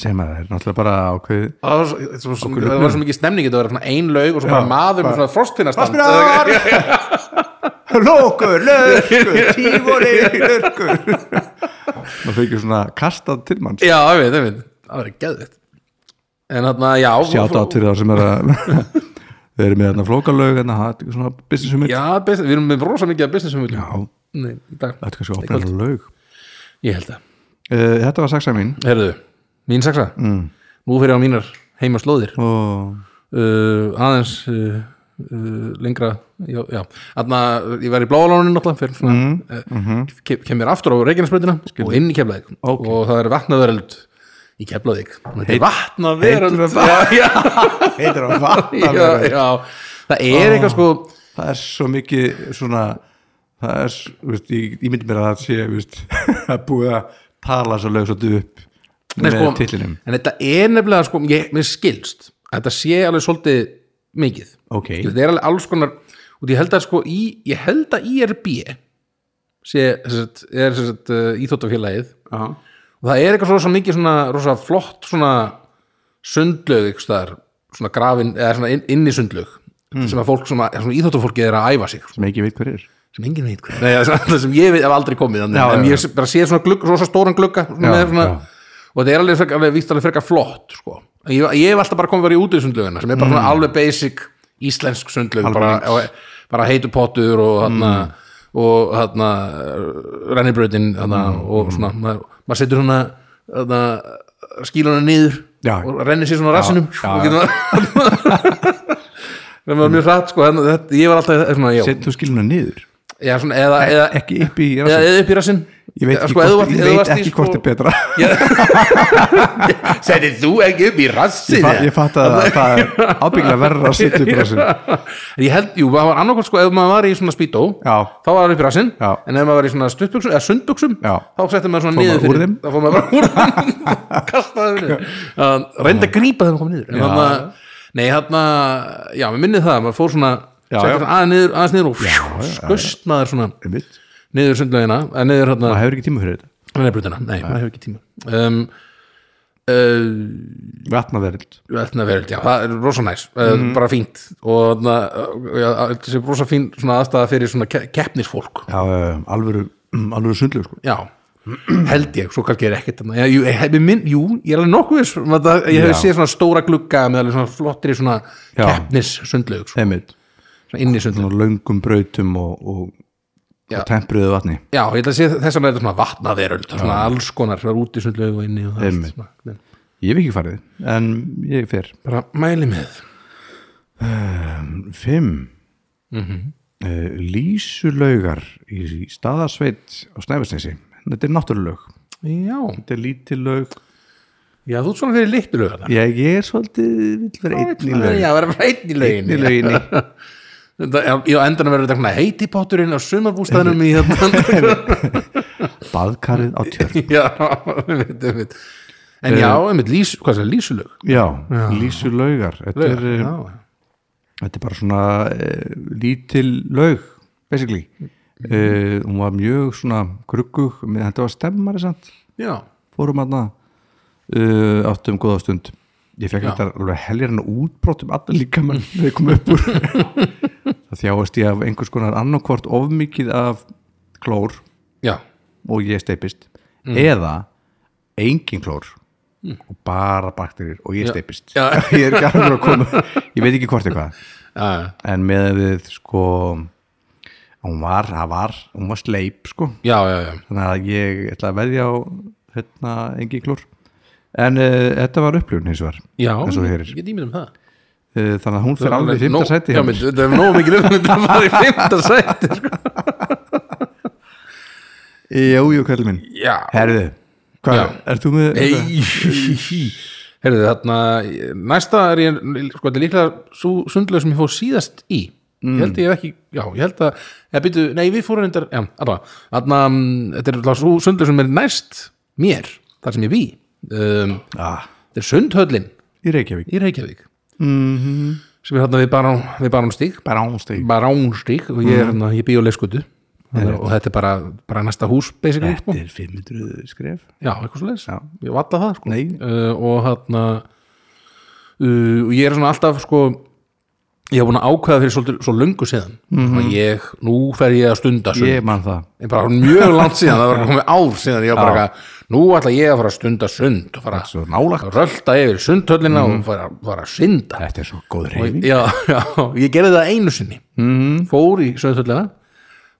sem að það er náttúrulega bara ákveð Það var svo- svo- svo- það var svo mikið stemning þetta var svona ein laug og svo bara maður með svona frostpinnast Frostpinnar! Lókur, lörkur, tífóri, lörkur Maður fekir svona kastað til manns já, ég veit, ég veit, það verður geðvitt en þarna, já Sjátt átt fyrir það sem er að Þeir eru með þarna flókalög en það er eitthvað svona business um mitt já, best, við erum með rosa mikið að business um Já, Nei, í dag. þetta er kannski að opna þarna lög ég held að, Eh, Þetta var saksa mín herðu mín saksa, mm. nú fyrir á mínar heimaslóðir og uh, aðeins uh, uh, lengra já, já. Atna, ég var í bláalónin náttúrulega fyrir svona, mm -hmm. kem mér aftur á Reykjanesbröndina og inn í Keflavík Ókei. og það er vatnaveröld í Keflavík Hún heitir heitir vatnaveröld það já, já, heitir að vatna já, já. það er eitthvað sko það er svo mikið svona það er, s- þú veist, ég, ég myndi mér að það sé þú veist, að búið að tala svo lög svo upp Nei, með sko, titlinum en þetta er nefnilega sko, ég, mér skilst að þetta sé alveg svolítið mikið Ok. Skilst, þetta er alveg alls konar og ég held að sko, í, ég held að IRB sé, sem sagt, er sem sagt, uh, íþóttafélagið og það er eitthvað svo rosa mikið svona rosa flott svona sundlaug ykkur staðar, svona grafin eða svona inn, inn í sundlaug sem að fólk svona, svona íþóttafólkið er að æfa sig sem ekki veit hver er sem enginn veit hvað Nei, það er svona- það sem ég veit, hef aldrei komið þannig, Já, en já, ég bara sé svona glugg, rosa stóran glugga svona, Já, með svona, já. og þetta er alveg, frekar- alveg víst alveg frekar flott sko. En ég, ég hef alltaf bara komið bara í útisundlaugina sem er bara Mm. svona alveg basic íslensk sundlaug bara, og- bara heitu pottur og þarna Mm. og þarna eh, rennibrautin þarna, og svona Mm. maður, maður setur svona þarna, skíluna niður Já. og rennir sér svona á rassinum já, og getur maður það var mjög hratt sko, en þetta, ég var alltaf svona, já, set þú skiluna niður, Já, svona, eða, eða, ekki upp í eða, rassinn. eða upp í rassinn ég veit Eða, ekki, sko, eða þú hvort, varst- ég eða þú veit varst í, ekki sko- hvort er betra Settir þú ekki upp í rassin ég, fa ég fatt að það er ábyggilega verra að setja upp í rassin Ég held, jú, það var annarkvæmt sko ef maður var í svona spýtó Já. þá var það upp í rassinn Já. en ef maður var í svona stuttbuxum eða sundbuxum Já. þá settir maður svona Fór niður maður úr fyrir þeim? þá fór maður bara úr þeim kastaði niður Að reyndi að grípa þeim að koma niður en þarna, nei, þarna já, mér minnið það, maður fór svona Já, já. settir aðeins niður, aðeins niður og skust maður svona Einmitt. niður sundlaugina, eða niður hérna maður hefur ekki tíma fyrir þetta Nei, brutina, nei, maður hefur ekki tíma um, uh, vatnaverð Vatnaveröld, já, það er rosa næs uh, Mhm. bara fínt og þarna, uh, já, þessi rosa fín svona aðstæða fyrir svona ke keppnisfólk já, eh, alvöru, alvöru sundlug sko. Já, held ég, svo kannski er ekkert þarna. já, jú, ég, ég, minn, jú, ég er alveg nokkuð viss um að það- ég hef Já. séð svona stóra glugga með alveg svona flottri svona Já. keppnissundlaug svo, einmitt, svona inni sundlaug svona löngum brautum og, og, Já. og tempruðu vatni Já, ég held að sé þess að þetta svona vatnaveröld svona alls konar, svona út í sundlaug og inni og það allt Einmitt. svona, Nei, Ég hef ekki farið en ég fer bara mæli með Fimm mm Lísulaugar í staðarsveit á Snæfisnesi Þetta er náttúrulög Já, Þetta er lítil lög já, þú ert svona fyrir litlu Ég, ég er svolítið, vill vera einn í lög Já, vera bara einn í Einn í lauginni löginni Já, endan verður þetta svona heiti potturinn á sumarbústæðnum í hérna." þetta Baðkarið á tjörn Já, einmitt, einmitt En já, Eh. einmitt, lís, hvað er það, lísulög? Já, lísulaugar Þetta er, Já, eh, þetta er bara svona uh, lítil lög basically uh, Hún var mjög svona gruggug með- Þetta var stemmari samt já, fórum aðna uh, áttum góða stund ég fekk þetta alveg heljar hann útbrotum allir líka mann þegar ég kom upp úr það þjáast ég af einhvers konar annarkvort ofmikið af klór já, og ég steipist Mm. eða engin klór og bara bakterir og ég steipist Já. ég er ekki alveg að koma ég veit ekki hvort eitthvað já, en með við sko hún var, það var, hún var sleip sko já, já, já. þannig að ég ætla að veðja á hérna engi klór en uh, þetta var upplifun hins vegar Já, eins og þú heyrir. ég get ímynd um það uh, þannig að hún fyrir alveg í Nó- fymta sæti hérna. Já, hjá menn, mér. þetta er nóg mikið um þetta var í fymta sæti sko. jú, jú, kallið minn Já, herðu, hvað, Já. ert þú með Nei þetta? Herðu, þarna næsta er ég, sko, þetta er líklega svo sundlega sem ég fór síðast í ég held að ég hef ekki, já, ég held að eða byrju, nei, við fórum reyndar, já, allavega þarna, mm, þetta er alltaf svo sundlega sem er næst mér, þar sem ég bý um, ah, þetta er sundhöllin í Reykjavík í Reykjavík sem er þarna við bara, við bara um stík bara ánstík bara ánstík og ég er hérna, ég bý á leyskutu og þetta er bara, bara næsta hús basically, sko. þetta er 500 skref já, eitthvað svo leis, Já. ég valla það sko nei, uh, og hérna uh, og ég er svona alltaf sko ég hef búin að ákveða fyrir svolítið, svo lungu síðan mm ég, nú fer ég að stunda sund Mhm. ég man það ég bara mjög langt síðan, það var komið ár síðan ég var bara eitthvað, nú ætla ég að fara að stunda sund og fara Svo Mhm. nálægt. að rölda yfir sundhöllina og fara, fara að synda Þetta er svo góð og, reyfing já, já, ég gerði það einu sinni Mhm. mm. fór í sundhöllina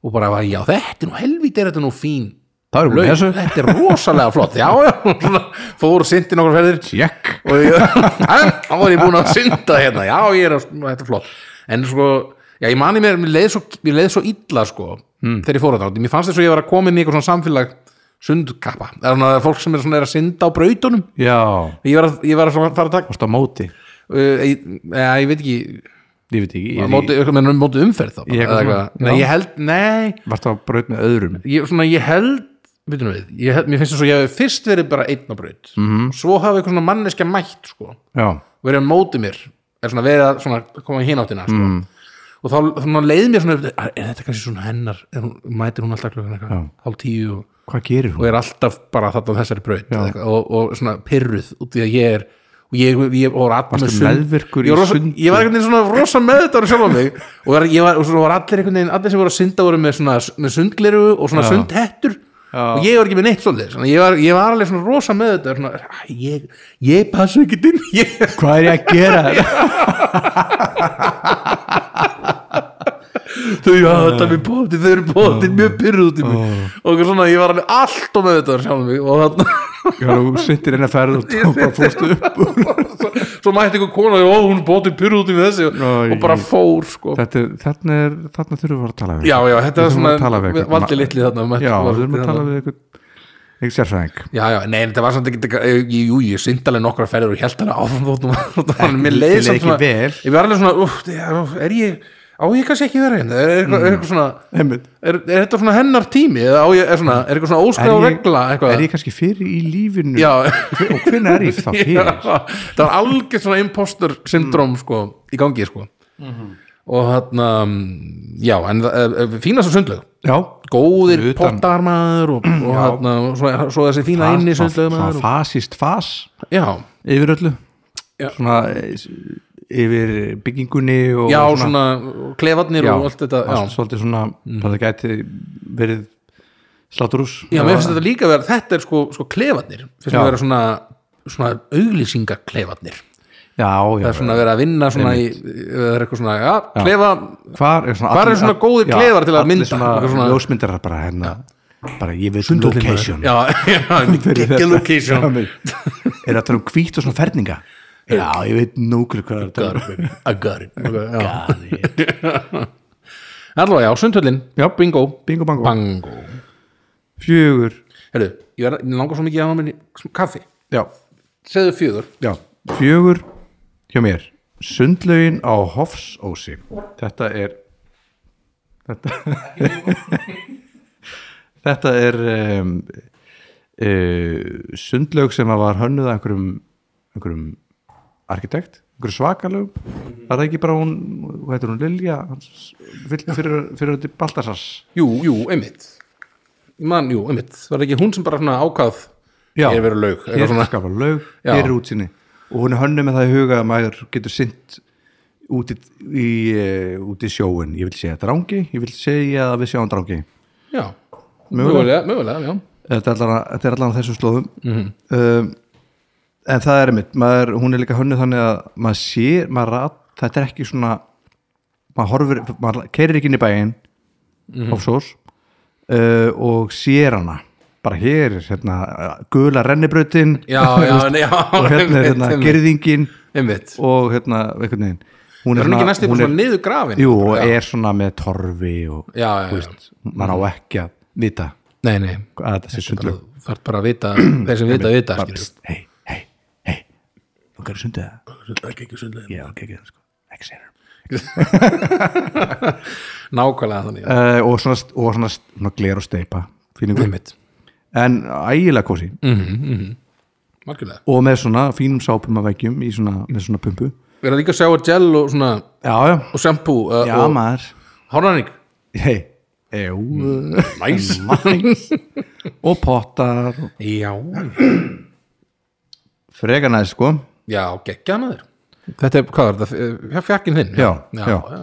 og bara var, já, þetta er nú helvítið er þetta nú fín Það er búin laug, þessu þetta er rosalega flott, já, já svona, fór syndi nokkur ferðir Sjekk og ég, þá var ég búin að synda hérna, já ég er að, þetta er flott en sko, já ég mani mér mér leið svo, mér leið svo illa sko þegar ég fór þetta, mér fannst þess að ég var að koma inn í eitthvað svona samfélag sundkappa, það er svona fólk sem er svona er að synda á brautunum Já ég var að, ég var að svona fara að taka Varst á móti uh, ég, ja, ég veit ekki, Ég veit ekki ég, ég, móti, ég, menn, móti umferð þá bara, Í eitthvað eða svona, eitthvað. nei, já. ég held, nei Varst á braut með öðrum ég, svona, ég held veitum við, ég held, mér finnst þess að ég hafi fyrst verið bara einn á braut, -hmm. svo hafi eitthvað svona manneskja mætt sko Já verið að móti mér er svona verið að svona koma í hináttina sko. og þá svona, leið mér svona er þetta kannski svona hennar er hún, mætir hún alltaf klukkan eitthvað, hálf tíu og, Hvað gerir og hún? er alltaf bara þetta á þessari braut eða eitthvað, og, og svona pyrruð út í að ég er og ég, ég og var allir Varstu með sund- meðvirkur í ég var, rosa, sundi? ég var einhvern veginn svona rosa meðutáru sjálf á mig og, var, ég var, og svona var allir einhvern veginn allir sem voru að synda voru með, svona, með sundgleru og svona sundhettur og ég var ekki með neitt svolítið ég var, ég var alveg svona rosa meðutáru svona, "Æ, ég, ég passa ekki inn ég, Hvað er ég að gera? þau, já, þetta er mér bótið, þau eru bótið mjög pyrruð út í mig og eitthvað svona, ég var alveg allt og með þetta sjálf mig og þannig Já, þú sittir einn að ferð og þú bara fórstu hérna. upp svo mætti einhver kona, já, hún er bótið pyrruð út í mig þessi og, Æ. og bara fór, sko Þetta er, þarna er, þarna þurfum við að fara að tala við já, já, þetta er þurfum að tala svona, við við- einhvern. valdi litli þarna mætti- Já, var- við þurfum að tala við einhvern einhvern sérfræðing Já, já, nei, þetta var samt ekki, ég- jú, ég syndi alveg nokkra ferður og held alveg áfram þóttum að þér mér leiði leið samt ekki svona, vel. ég var alveg svona, úf, er ég, á ég kannski ekki verið hérna, er er eitthvað, er Mm. eitthvað svona, Einmitt. er, er þetta svona hennar tími, eða á ég, er svona, er eitthvað svona Er óskráð ég, regla, eitthvað? er ég kannski fyrir í lífinu Já, og hvernig er ég þá fyrir? Já, það var algjör svona imposter syndrom sko, í gangi sko. og þarna mm, já, en það- eh, eh, fínasta sundlaug Já, góðir Utan- pottar maður og, og þarna, svo, svo þessi fína inni sundlaug maður og, fasist fas já, yfir öllu Já. svona eh, s- yfir byggingunni og já, svona og klefarnir og allt þetta já. Mm. allt svolítið svona, það gæti verið sláturús já, mér finnst þetta líka vera, þetta er sko, sko klefarnir, finnst Já. mér vera svona svona auglýsingaklefarnir já, já, það er svona að vera að vinna svona í, það er eitthvað svona, já, klefa hvar er svona, Hvar eru svona góðir klefar til að mynda? allir svona, Eitthvað svona- ljósmyndarar bara hérna bara ég við location já, já, geggja location er það um hvít og svona ferninga já, ég veit núkri hvað það er I got it Allá, já, sundhöllin Já, bingo, bingo bango, bango fjögur Hérðu, ég er- ég langar svo mikið að hafa minni kaffi já, Segðu fjögur Já, fjögur hjá mér Sundlaugin á Hofsósi Þetta er Þetta Þetta er um, uh, sundlaug sem að var hönnuð af einhverjum, einhverjum arkitekt, einhverjum svakalög var það ekki bara hún, hvað heitir hún, Lilja hans, fyrir, fyrir, fyrir þetta Baltasars Jú, jú, einmitt Ég Man, jú, einmitt Var ekki hún sem bara svona ákvað Já. Ég er verið laug eitthvað hér svona. skapa laug, Já. hér er útsinni og hún er hönnu með það í huga að maður getur sint út í, í, eh, út í sjóin, ég vil segja drangi ég vil segja að við sjáum drangi Já, mögulega, mögulega, já þetta er allan, þetta er allan á þessum slóðum Mhm. um, en það er mitt maður, hún er líka hönnu þannig að maður sér, maður rat, þetta er ekki svona maður horfir, maður keirir ekki inn í bæinn mm Mhm. uh, og sér hana bara hér, er, hérna, gula rennibrautin Já, já, nei, já og hérna er hérna einmitt, gerðingin Einmitt og hérna einhvern veginn hún Er hún ekki næstu hún svona niður grafin? jú, og já, er svona með torfi og já, já, já. Mm. maður á ekki að vita Nei, nei að þetta sé sundlög Þú þarf bara að vita Þeir sem vita, vita skilur. hei, hei, hei þú kannu sundið það? ekki ekki sundlegin já, ok, ekki það sko ekki segir nákvæmlega þannig uh, og svona, og svona, svona gler og steipa fíningur einmitt, Mm. en ægilega kosi margulega og með svona fínum sápum af veggjum í svona, með svona pumpu við erum líka að sjá að gel og svona já, já, og shampoo uh, já og maður hárnæring hei, jú næs Mm, og pottar og já, freka næst sko já, geggja maður Þetta er, hvað er þetta? Fjarkinn þinn? Já, já, já. já.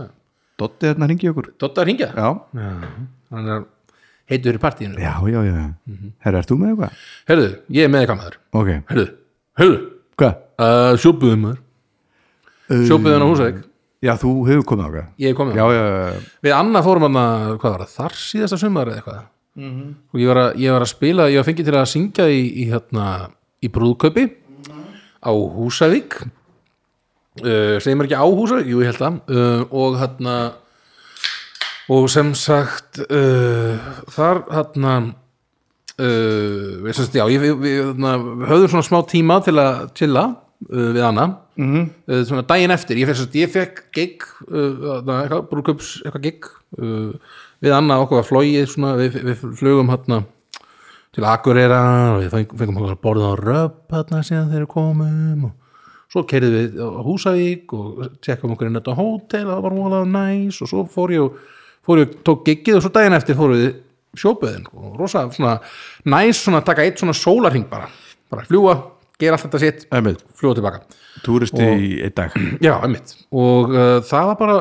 Dotti hérna hringi í okkur Dotta að ringja? Já, Hann er heitur í partíinu. já, já, já. Herra, ert þú með eitthvað? Herðu, ég er með eitthvað maður. Ok, Herðu, herðu, hvað? uh, sjópuðum maður. Eh, Sjópuðum á Húsavík. Já, þú hefur komið okkar Ég er komið. Já, já, já, Við annað fórum hann að, hvað var það, þar síðasta sumar eða eitthvað. Og ég var, að, ég var að spila, ég var fengið til að syngja í, í, hérna, í brúðkaupi á Húsavík. Uh, segir maður ekki á Húsavík? Jú, ég held það. Uh, og hérna, og sem sagt, uh, þar hérna, uh, við, sem sagt, já, ég, við, við hérna, höfðum svona smá tíma til að chilla uh, við hana uh, svona daginn eftir, ég fekk, ég fekk gig, uh, þarna, eitthvað, brúkups eitthvað gig uh, við annað okkur var flogið svona, við, við flugum hérna til Akureyra og við feng- fengum okkur að borða á röp hérna síðan þegar við komum og svo kerðum við á Húsavík og tjekkum okkur inn á þetta hótel og það var múlega næs og svo fór ég, og- fór ég og tók giggið og svo daginn eftir fór við sjóböðin og rosa svona næs svona að taka eitt svona sólarhing bara, bara fljúa, gera allt þetta sitt einmitt fljúa tilbaka Túristi í einn dag Já, einmitt og uh, það var bara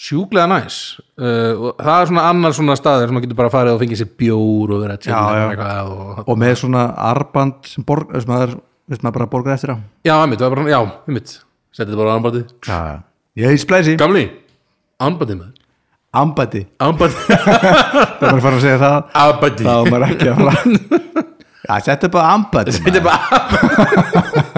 sjúklega næs uh, og það er svona annar svona staðir sem maður getur bara farið og fengið sér bjór og verið að tjena Já, já. eitthvað og, Og með svona arband sem borg, sem maður, veist maður bara borgar eftir á Já, einmitt, það var bara, já, einmitt Settið bara á anbætið Já, já Ég er í splæsi Gamli, anbætið maður Ambæti Anbætið, Það er bara að fara að segja það anbætið Þá er maður ekki að fara Já, þetta er bara ambæti maður. Þetta er bara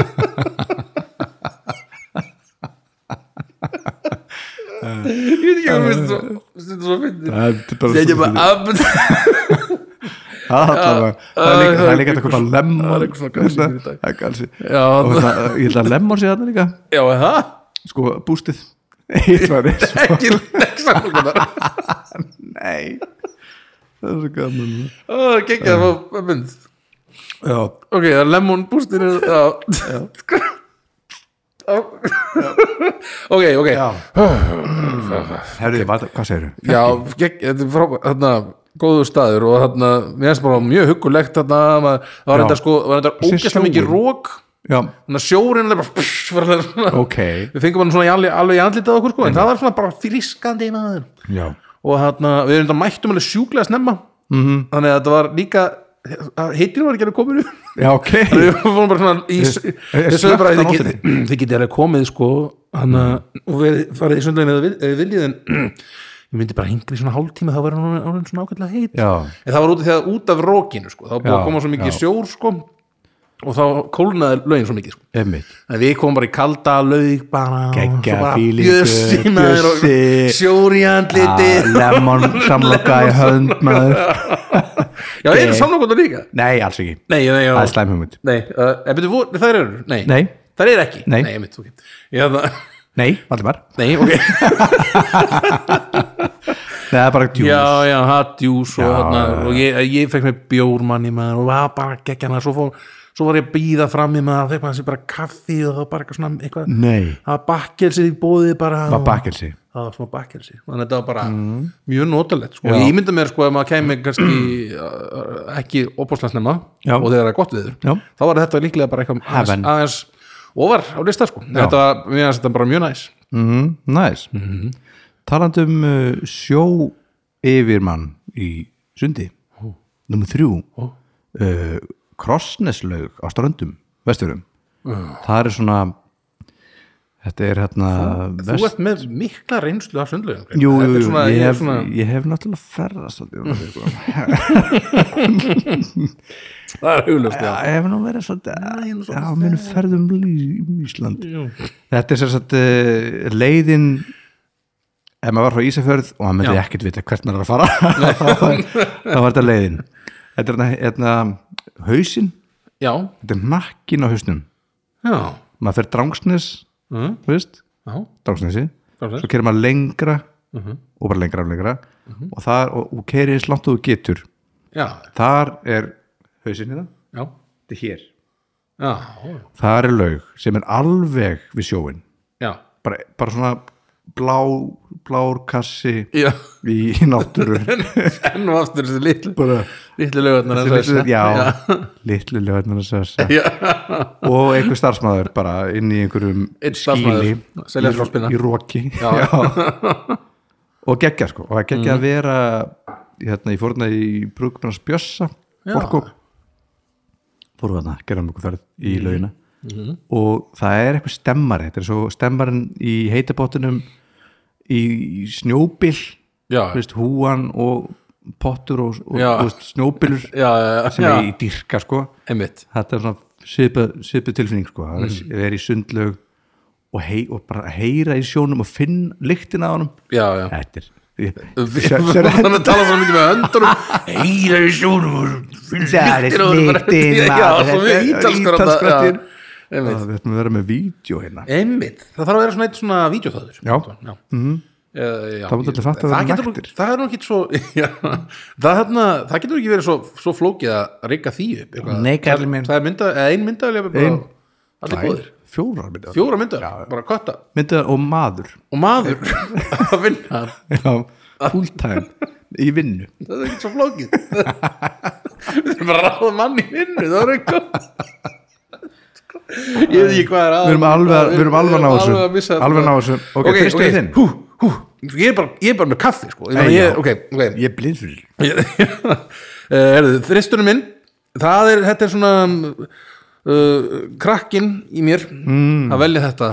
Ég veit ekki að mér finnst svo- finnst svo fyndið. Þetta er bara Þetta er svo- bara anbætið Það er allavega- það er líka- það er líka hægt að kaupa lemon Það er eitthvað svona galsi í dag. Það er galsi hérna Já, Og það, ég held að lemon sé þarna líka já, er það Sko, bústið Hitt var eins og- ekki leggsamlokunar Nei Það er svo gaman það er ekki að fá mynd Já, ok, það er lemon boostin er- já. Já. ok, ok já, herrið, hvað segirðu? gegg- þetta er frábært þarna, góðu staður og þarna, mér finnst bara mjög huggulegt þarna, maður- það var Já. þetta sko, það var þetta Sér ógæslega mikið sjóinn. rók Já, þannig að sjórin er bara pss, var alveg svona- ok við fengum hann svona í alveg, alveg í andlitað okkur sko, en það var svona bara frískandi maður Já, og þarna, við erum þetta mættum alveg sjúklega snemma Mhm. -hmm. þannig að þetta var líka heitin var ekki alveg komin upp já ok við fórum bara svona í er við sögum bara slökkt á þið getið þið getið alveg komið sko hann að og verið farið í sundlegin eða vil- eða viljið en ég myndi bara hingri svona hálftíma þá verður hann orðinn- orðinn svona ákveðlega heit Já, en það var út af því að út af rókinu sko þá var búið Já, að koma svo mikið já. sjór sko og þá kólnaði lögin svo mikið sko emmitt En við komum bara í kalda laug bara og Geggjað svo bara feeling, Bjössi maður og Bjössi. sjór í andliti Ah, Lemon samloka í hönd maður Já, það eru samlokunar líka Nei, alls ekki Nei, nei, já Það er slæmhjumut Nei, uh, en byrju, vor- þær eru Nei, Nei. þær eru ekki Nei. nei einmitt, ok Já, það Nei, Valdimar Nei, ok Nei, það er bara djús Já, já, hatjús og, Já, hana, já, já. og ég, ég fekk mér bjórmann í maður og var bara geggjana svo, fór, svo var ég að býða fram í maður fekk maður sér bara kaffi og það var bara eitthvað svona eitthvað Nei, Það var bakkelsi í bóði bara það og- Mm. var bakkelsi það var smá bakkelsi þannig að þetta var bara Mm. mjög notalegt sko. ég mynda mér sko að maður kæmi kannski uh, ekki opáslandsnema Já. og þegar það er gott viður Já. þá var þetta líklega bara eitthvað Heaven. aðeins, aðeins ofar á lista sko En þetta var, mér finnst þetta bara mjög næs mm, Næs Mhm. Talandi um uh, sjó yfirmann í sundi oh. Númer þrjú oh. uh, Krossneslaug á ströndum Vesturum Það er svona Þetta er hérna þú ert með mikla reynslu af sundlaugum Gretar. Jú, jú, Þetta er jú, svona, ég, ég er hef, svona ég hef náttúrulega ferðast svolítið, um þetta, sko. það er huglust já. Já, ég hef nú verið svolítið Já, minn ferðum í Ísland Þetta er sér satt uh, leiðin ef maður var frá Ísafjörð og maður myndi Já. ekkert vita hvert maður er að fara þá var- þá var þetta leiðin Þetta er hérna- hérna hausinn já, þetta er nakkin á hausnum já, maður fer drangsnes, Mhm. þú veist já. drangsnesi, Drangsnes. svo kerir maður lengra og bara lengra og lengra og, það, og, og kerir eins langt og þú getur já, þar er hausinn hérna, já. þetta er hér já. þar er laug sem er alveg við sjóin já. bara, bara svona blá blár kassi já, í náttúru enn og aftur þessi litlu bara litlu lögarnar Þessi litlu- já, litlu lögarnar og já, einhver starfsmæður bara inn í einhverjum Einn skíli starfsmaður, selja í- froskpinna. í roki já. og geggja sko og það Mhm. geggja að vera hérna, ég fór hérna í brúkbrans Bjössa Já. Borko fórum hérna, gerðum okkur ferð í Mhm. laugina og það er eitthvað stemmari þetta er svo stemmarin í heitabottinum í í snjóbil já, já, veist, húan og pottur og, og, Já. og veist, snjóbilur já, sem já, er í dýrka sko einmitt þetta er svona svipið, svipið tilfinning sko, að mm. vera í sundlaug og, hei, og bara heyra í sjónum og finn lyktina á honum já, já þetta er Við erum að tala svo mikið með höndurum Heyra í sjónum Það er lyktin, Já, maður, þetta svo er mjög ítalskar á þetta, ítalskar. já. Einmitt. við ætlum að vera með vídeo hérna Einmitt, það þarf að vera svona eitt svona vídeoþáður Já. Mhm. já. Mm -hmm. já Það mátti allir fatta að það það eru getur nú- naktir. Það er nú ekki svo já, það, þarna, það getur nú ekki verið svo, svo flókið að reyka því upp eitthvað. Nei, kallinn minn. Það er mynda, eða ein myndavel Ein. Allir góðir, fjórar myndar fjóra myndavel, bara kötta myndar og maður og maður að vinna já, Ah. full time í vinnu það er ekki svo flókið Við erum bara að ráða mann í vinnu það er ekki gott Ég veit ekki hvað er að við erum alveg, að- við erum alveg að ná þessu að missa þetta. alveg að ná þessu, ok, ok, fyrstu ok, þinn hú, hú ég er, bara, ég er bara með kaffi sko. ég, Nei, Ei, já. ég, ok, ok ég er blind fyrir Erðu, Eh, þristurinn minn það er, þetta er svona uh, krakkin í mér mm. að velja þetta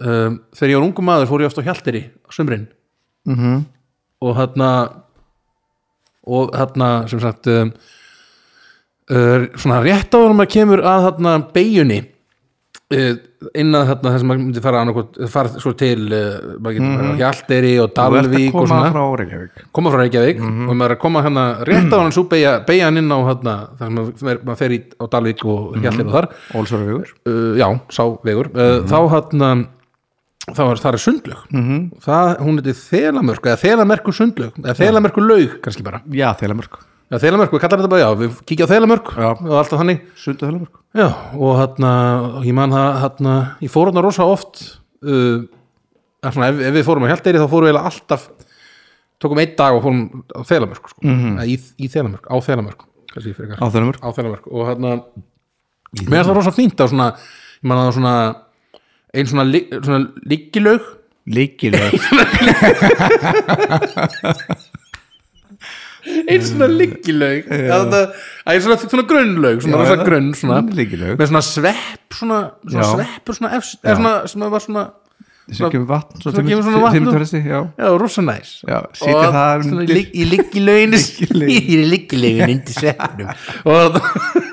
um, þegar ég var ungu maður fór ég oft á Hjaltiri á sumrin Mhm. -hmm. og þarna og þarna sem sagt um, uh, svona rétt áður en maður kemur að þarna beigjunni uh, innan þarna þess að maður myndi fara, annarkot, fara svo til uh, maður getur mm. Hjaltiri og Mhm. þú ert að Dalvík og koma svona frá Reykjavík koma frá Reykjavík og maður er að koma hérna rétt á hann svo beigja, beigja hann inn á hérna, þar sem maður fer- maður fer í á Dalvík og Hjallir og þar Ólsvarvegur uh, já, sá vegur uh, þá hérna þá er, þar er sundlög það, hún heiti Þelamörk eða Þelamörku sundlög eða Þelamörku laug kannski bara já, Þelamörk eða Þelamörku, kallar þetta bara, já, við kíkja á Þelamörk Já. og alltaf þannig Sunda Þelamörk já, og hérna, ég man það hérna, ég fór hérna rosa oft uh, að svona, ef, ef við fórum á Hjaldeyri þá fórum við eiginlega alltaf tókum einn dag og fórum á Þelamörk sko. mm -hmm. í, í Þelamörk, á Þelamörk kannski frekar Mhm. á Þelamörk á Þelamörk og hérna mér er það rosa fínt að svona ég man að það var svona einn svona, li, svona líkilaug Líkileg einn svona líkilaug einn svona, svona grunnlaug svona Já, rosa já. grunn svona, Lykilaug. með svona svepp svona, svona Já. sveppur svona, efst, eða svona sem var svona sem kemur vatn svo Svo fimm- kemur svona vatn fimm og- törresti, já. já, rosa næs Já, sitja Og þar svona undir. lyk- í líkilauginu Lykkilauginni. í líkilauginu undir sveppnum og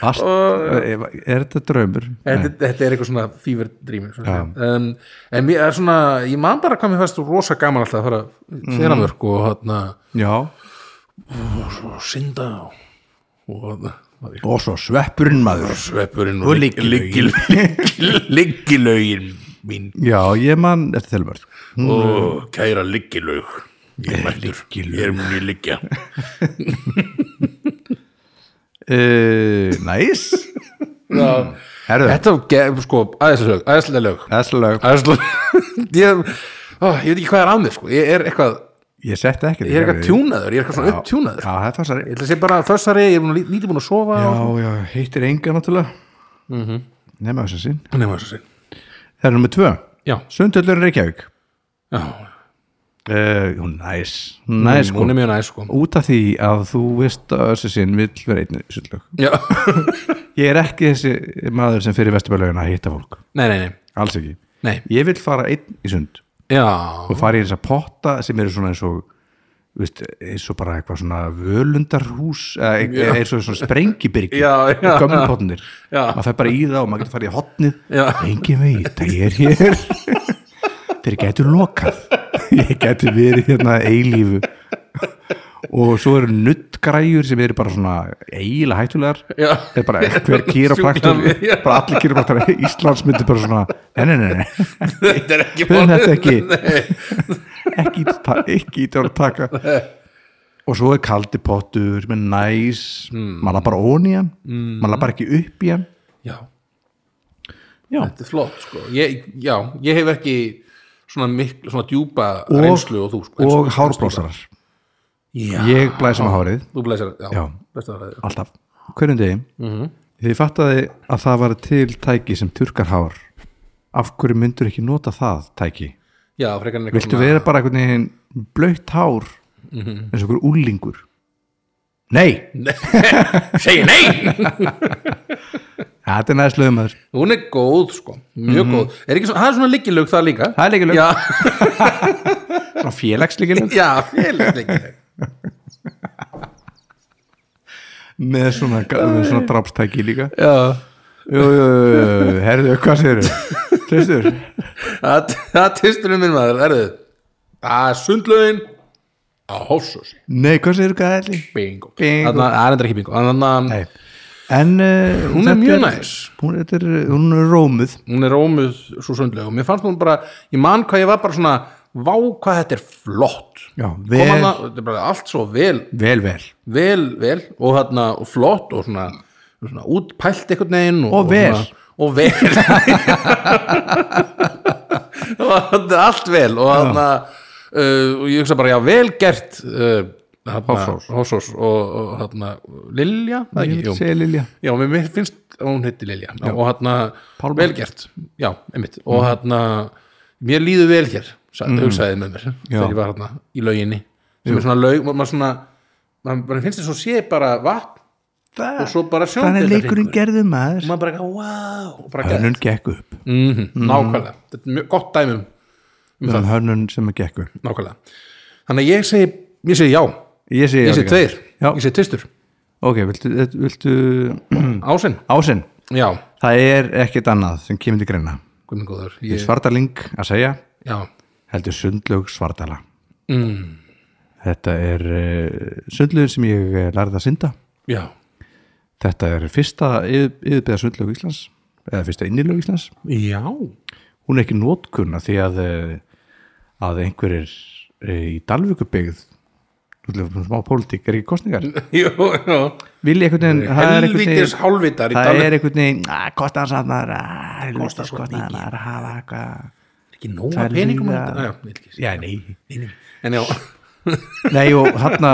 Vast, er Eh, er þetta draumur? þetta, þetta er eitthvað svona fever dream svona. Um, en mér er svona ég man bara hvað mér fæst rosa gaman alltaf að fara Mm. þeirra mörg og hérna já, og synda og- og hérna, maður, og svo sveppurinn maður sveppurinn Og og lykkilauginni. liggilaugin mín já, ég man eftir Þelamörk og kæra liggilaug ég er mættur, ég er mjög liggja uh, næs herðu, þetta var ge- sko aðeinslega lög aðeinslega þessulega, lög æðisleg- ég, ó, ég veit ekki hvað er að mér sko ég er eitthvað ég setti ekki ég er eitthvað tjúnaður, ég er eitthvað svona Já. upptjúnaður sko. já, það er ég þessari ætla að segja bara þessari, ég er búin að lí- lítið búin að sofa já, og- já, hittir enga náttúrulega nema þess að sín nema þess að segja það er nummer tvö, já, Sundhöllur Reykjavík já uh, hún næs, hún næs sko. hún er mjög næs sko út af því að þú veist að þessu sinn vill vera einn sundlög já. ég er ekki þessi maður sem fyrir vesturbælögin að hitta fólk nei, nei, nei, alls ekki, nei ég vil fara einn í sund já, og fara í þessa potta sem eru svona eins og veist, eins og bara eitthvað svona völundarhús eða eit- eða eins og svona sprengibyrgi Já, já. gömmu potnir Já. maður fer bara í það og maður getur farið í hotnið Já. engin veit að ég er hér þeir getur lokað ég getur verið hérna eilífu og svo eru nuttgræjur sem eru bara svona eiginlega hættulegar Já. þeir bara hver kýrapraktur Sjúklega, já. bara allir kýrapraktur Íslands myndir bara svona nei nei nei, nei þetta er ekki Höfum málið. þetta ekki. Nei. ekki ít- ta- ekki ít að taka og svo er kaldi pottur með næs, Hmm. maður lapar ón í hann maður lapar ekki upp í hann já, já, þetta er flott sko ég, já, ég hef ekki svona, mikl, svona djúpa Og- reynslu og þú sko, eins og eins hárblósarar Já, ég blæs um hárið, þú blæsir já, Já. blæsir það, já. alltaf hverjum degi, Mhm. því ég fattaði að það var til tæki sem turkar hár af hverju myndur ekki nota það tæki, já, frekar en eitthvað viltu svona- vera bara einhvern veginn blöytt hár Mhm. eins og einhver úlingur nei, segi nei, ja, þetta er næst lögum aður hún er góð sko mjög góð, er ekki svona, það er svona líkilaug það líka Mhm. það er líka lög, já, svona félagsleiki lög já, félags líkilaug með svona, með svona drapstæki líka já, jú, jú, jú, jú, jú, herðu, hvað segir þau tristur, það það tvisturinn minn maður, erðu það er sundlaugin á hóssus, nei, hvað segir þau gæli bingo Bingo. Þarna- það er endur ekki bingo, þannig að nei, en uh, hún er mjög næs hún, þetta er, hún er rómuð hún er ómuð svo sundlaug og mér fannst hún bara, ég man hvað ég var bara svona vá hvað þetta er flott já, kom vel, hana, þetta er bara allt svo vel vel, vel vel, vel og þarna og flott og svona, svona útpælt einhvern veginn og, Og vel. svona, og vel og þarna allt vel og þarna uh, og ég hugsa bara já vel gert uh, þarna, Hofsós. Hossós og, og þarna Lilja það ekki, jú. segir Lilja Já, mér- mér finnst að hún heiti Lilja og hann að Pálma. velgert já, einmitt, og hann mér líður vel hér, sagði, hugsaði með mér þegar ég var hann í lauginni sem er svona laug, ma- maður svona maður maður finnst þess að sé bara vatn Það, og svo bara sjóndi þannig leikurinn gerðu maður maður bara, eitthvað, wow og bara gæð, hönnun gekk upp mm nákvæmlega þetta er mjög gott dæmum, um hönnun sem er gekk upp nákvæmlega þannig að ég segi, ég segi já ég segi, ég segi tveir, Já. ég segi tvistur ok, viltu, eh, viltu ásinn, ásinn, já, það er ekkit annað sem kemur til greina guð minn góður Ég... ég, Svartaling að segja já, heldur sundlög Svartala mm. þetta er uh, sundlögin sem ég eh, lærði að synda já, þetta er fyrsta yfirbyða sundlög Íslands eða fyrsta innilög Íslands já hún er ekki nótkunna því að eh, að einhverjir eh, í Dalvíkubyggð þú ætlum við smá pólitík, er ekki kostningar jú, já vilja einhvern veginn það er einhvern helvítis veginn- hálvitar í það Dalvík er einhvern veginn að kostnaðar samt maður ah, helvítis svo kostnaðar maður hafa eitthvað ekki nóga það er peningum líða- að- Á, já, ég vil ekki já, nei segja. en já, Nei og þarna,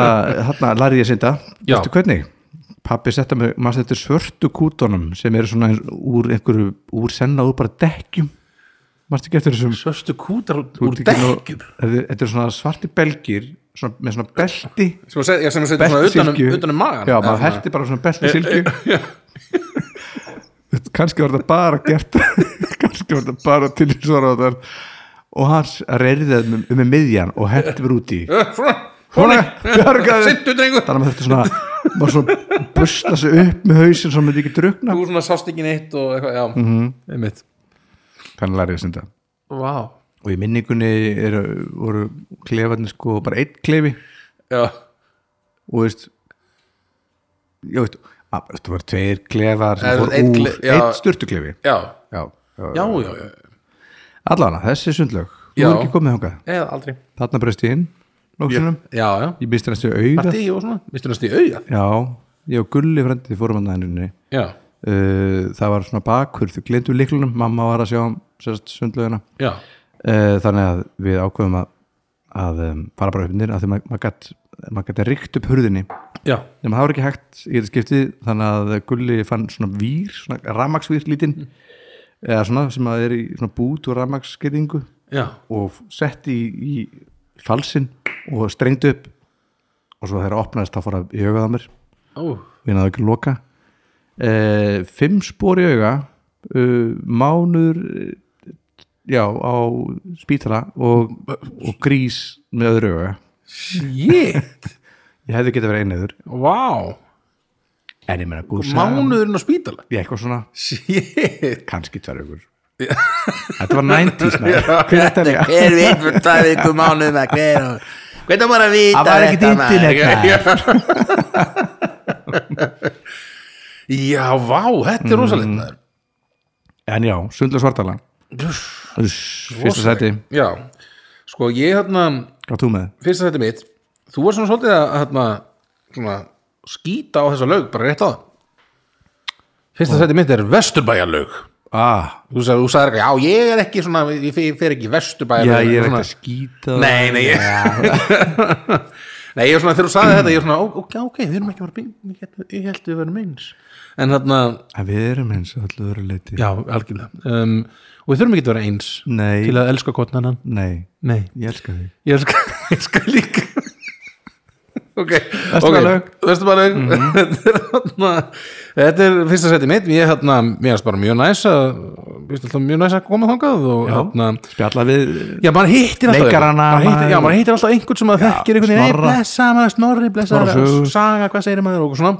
þarna lærði ég synda Já. Veistu hvernig? Pappi setta mig, maður þetta er svörtu kútonum sem eru svona eins- úr einhverju úr senna úr bara dekkjum maður þetta getur þessum svörstu kútar úr, Þú úr ert ekki nú- dekkjum Þetta þetta eru svona svarti belgir svona, með svona belti sem að segja, sem að segja svona um- utanum, beltisilkju utanum magan Já, maður herti bara svona belti silkju Kanski var þetta bara gert Kanski var þetta bara til þess að það og hans reyðið um, um miðjan og herti verið úti svona, Svona, svona, bjargaðu. sittu drengur þannig um að maður þetta svona maður svona busta sig upp með hausin svo maður ekki drukna þú svona sást ekki neitt og eitthvað, já, mm -hmm. einmitt þannig lærið ég synda vá, og í minningunni er, voru klefarnir sko bara einn klefi já, og veist ég veist að, þetta voru tveir klefar Er, sem fór einn úr kle- já. einn styrtuklefi já já, já, já, já, allan þessi sundlög þú Já. voru ekki komið þangað eða aldrei þarna breyst ég inn nóksunum já, já, ég býst næstu auða partí og svona, mistur næst í auga já, ég og Gulli frendi fórum hann að henni já, uh, það var svona bakhurð þau glindu líklunum, mamma var að sjá um sérst sundlaugina já, uh, þannig að við ákveðum að, að um, fara bara upp nýr að því maður mað gætt maður gæti ríkt upp hurðinni já, nema það var ekki hægt í þetta skiptið þannig að Gulli fann svona vír svona rammaksvír lítinn eða svona sem að er í svona bút og rammaksskirðingu já og setti í, í falsinn og strengdi upp og svo þegar það opnaðist þá fór að í augað á mér ó, við náðum ekki að loka uh, fimm spor í auga uh, mánur eh, já, á spítala og, og grís með öðru auga shit ég hefði getað verið einniður vá, en ég meina gúsa mánuðurinn á spítala ég eitthvað svona, shit kannski tvær augur þetta var 90s maður. Hver er þetta er hver veit fyrir tvær vikum mánuðum að hver og hvernig á maður að vita það var ekkit þetta, maður? internet maður. Já, vá, þetta er rosalegt maður. en já, sundla svartala Uss, Uss, fyrsta sæti, Já, sko ég hérna hvað þú með? fyrsta þetta mitt, þú var svona svolítið að hérna, svona, skýta á þessa laug bara rétt á það Fyrsta þetta mitt er Vesturbæjarlaug ah, þú sagði, þú sagði eitthvað, já ég er ekki svona ég fer, fer ekki í vesturbæði já, ég er ekkert að skýta nei, nei ég, nei, ég er svona þegar þú Mm. sagði þetta ég er svona, ó- ok, ok, við erum ekki að vera bing ég held- ég held við verum eins en þarna, en við erum eins og öllu öru leiti já, algjörlega um, og við þurfum ekki að vera eins nei, til að elska kotnan hann nei, nei, ég elska þig ég elska, ég elska líka ok, Vesturbæjarlaug. Vesturbalög Mhm. þetta er fyrsta seti mitt ég hérna, mér er bara mjög næs að mér finnst alltaf mjög næs að koma þangað og hérna, spjalla við já, maður hittir alltaf Leikarana, maður hittir, já, maður- maður hittir alltaf einhvern sem maður þekkir einhvern veginn, Snorra. "Nei, blessa maður, snorri, blessa Snorra Sögu. Mhm. saga, hvað segir maður og svona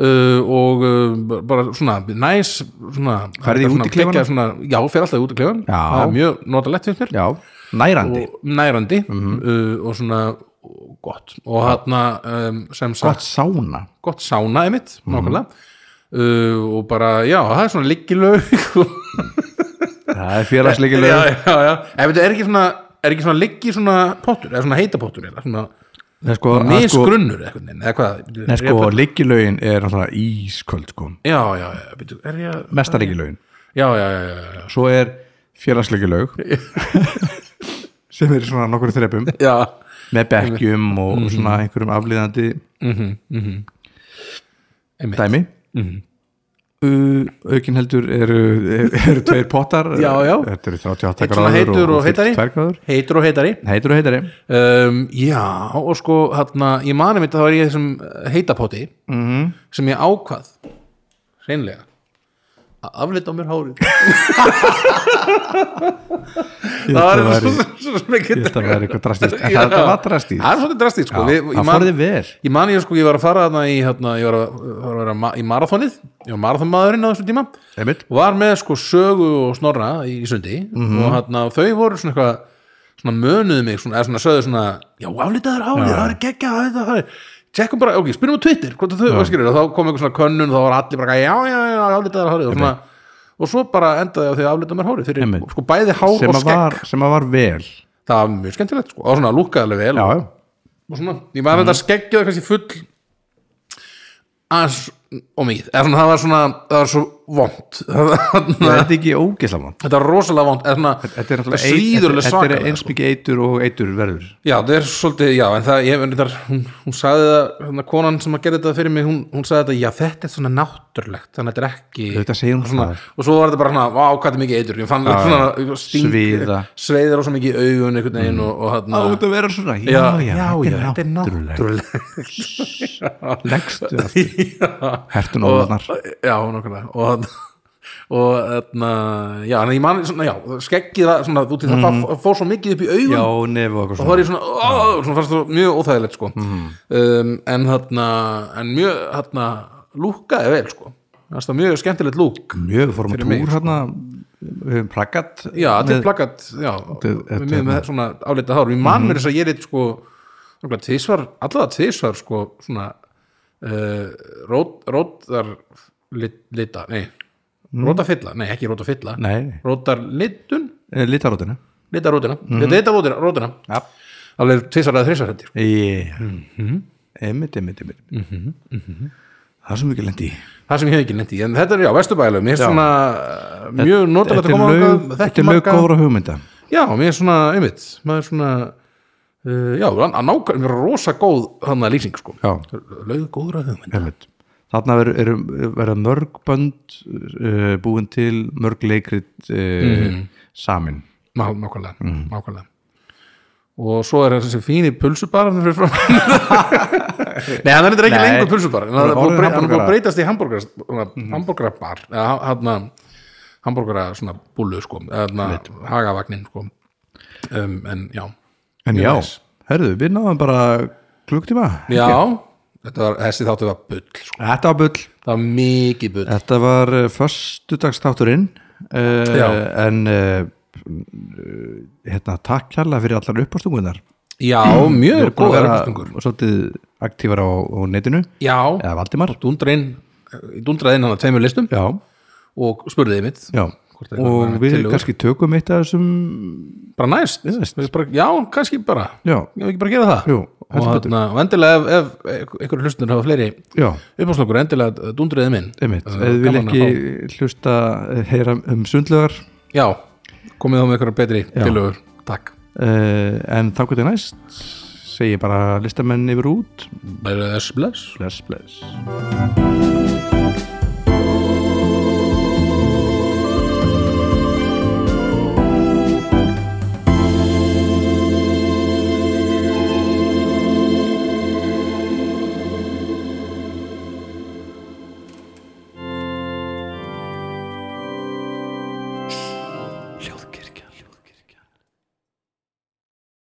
uh, og uh, bara svona næs, svona Ferðu í svona útiklefana? geggjað svona, já, fer alltaf í út í klefan Já. það er mjög notalegt finnst mér já, nærandi og nærandi Mhm. uh, og svona og gott og hérna um, sem gott sagt Mhm. sána gott sána einmitt nákvæmlega uh, og bara já það er svona liggilaug það er félagsleikilega já já já en veitu er ekki svona er ekki svona liggi svona pottur eða svona heita pottur eða svona Nei, sko, að sko, misgrunnur eða eitthvað eða hvað nei, sko, Rétt- leikilögin er náttúrulega ísköld sko, já já já veitu er ég að- mesta leikilögin já já já já já, já svo er félagsleikilög sem er í svona nokkur þrepum já með bekkjum og Mhm. svona einhverjum aflýðandi einmitt Mhm. dæmi Uh, aukin heldur eru, eru tveir pottar Já, já. þetta eru 38 Heitt svona gráður heitur og heitari 52 gráður heitur og heitari heitur og heitari Um, já, og sko hérna, ég mani mitt að það var ég í þessum heitapóti mm -hmm. sem ég ákvað reynlega að aflita á mér hárið Ég held að var væri- svo sem ég ekki held að það er eitthvað drastist en Já. það þetta var drastist Það er svolítið drastist sko. Já, Við- ég það man- fór þið vel. Ég mani ég sko, ég var að fara þarna í, hérna, ég var að, var að vera ma- í marathonið ég var marathonmaðurinn á þessum tíma Einmitt. Mhm. og var með sko sögu og snorra í, í sundi og hérna, þau voru svona eitthvað svona mönuðu mig, svona, eða svona sögðu svona já, aflitaður hálið, það er geggja það það er, tjekkum bara, ok, spyrum á Twitter hvort að þau, og skilur, og þá kom einhver svona könnun og þá var allir bara, já, já, já, aflitaður hálið og svona og svo bara endaði á því að aflita mér hárið fyrir Einmitt. sko bæði hár sem og að skegg var, sem að var vel það var mjög skemmtilegt sko. og svona lúkkaði alveg vel já, og, já. og svona, ég var Mhm. þetta skeggjaði kannski full aðeins og mikið eða svona það var svona, það var svo vond Ég, þetta þetta er ekki ógislega vond var rosalega vond eða svona, þetta er það náttúrulega eit- svíður þetta- alveg þetta svakalega er eins sko. mikið eitur og eitur verður já, það er svolítið, já, en það ég, en þar, hún, hún sagði það, hérna konan sem að gera þetta fyrir mig, hún, hún sagði þetta, já, þetta er svona náttúrulegt, þannig að þetta er ekki þetta segir hún svona, svona og svo var þetta bara svona, vá, hvað þetta er mikið eitur ég fann Já, Mm. svona, sting, sviða. sveiðir rosa mikið í augun einhvern veginn og, og hérna út að vera svona, já, já, já, þetta er náttúrulegt leggstu það náttúrulega hertun og, eh, óðarnar já, nákvæmlega og, og etna, já, en ég man svona, já, skeggið það, svona, út í það, það fór svo mikið upp í augun já, nef og og þá er eitthvað ég svona, ó, svona fannst þú mjög óþægilegt sko. um, en þarna en mjög, þarna, lúkkaði vel sko, það er mjög skemmtilegt lúk svona mjög fórum að mig, sko. túr hérna við höfum plakkat já, þetta er með- plakat já, Þetta- þetta- Mhm. með, með svona álita hár ég man mér þess að ég er eitt sko nokkulega tvisvar, allavega tvisvar sko svona uh, rót, rótar lit, lita, nei mm. rótafilla, nei ekki rótafilla Mhm. nei, eh, rótar litun, litarótina lita rótina Mhm. mm. lita rótina, rótina já, alveg tvisvar eða þrisvar sko. hættir Ég- Mhm. einmitt, einmitt, einmitt mhm. það er svo mikið lendi það sem ég hef ekki nefnt í, en þetta er já, vesturbæðileg mér er Já. svona eh, mjög notalegt að koma þangað, þetta þekki er lög marga. góðra hugmynda Já, mér er svona, einmitt maður er svona uh, já, að nákvæmlega, mér er rosa góð hann að lýsing, sko já, Laug góðra hugmynd einmitt Þarna verður eru- verða mörg bönd uh, búin til mörg leikrit uh, samin Ná, Nákvæmlega, Mm. nákvæmlega Og svo er þessi fíni pulsubar fyrir fram Nei, hann er þetta ekki Nei. lengur pulsubar en hann Orðinn er búið að brey- hann er hamborgara. búið að Mhm. breytast í hamburgara hamburgarabar eða hann hamburgara svona búlu, sko eða hagavagnin, sko um, En já, En Mjög já, næs. herðu, við náðum bara klukktíma já Þetta var, þessi þáttu var bull, sko Þetta var bull Það var mikið bull Þetta var föstudagstátturinn Já. uh, en uh, hérna, takk kærlega fyrir allar uppástungunar Já, mjög og góðar vera uppástungur svolítið aktífar á, á netinu Já, eða Valdimar dundraðinn dundraðinn hann að tveimur listum Já, og spurðiði mitt já Hvort er og eitthvað við tillögur? kannski tökum eitt af þessum bara næst, Næst. Við Bara, já, kannski bara Já, ég vil ekki bara gera það jú, og, heldur betur hérna, og endilega ef, ef einhverju hlustunir hafa fleiri Já, uppáslokkur endilega dundriðið minn Eh, einmitt, eða vil gaman að ekki hlusta, eh, heyra um sundlögar já, komið þá með einhverjar betri tilögur takk, uh, en þá hvernig næst segi ég bara listamenn yfir út bless bless bless bless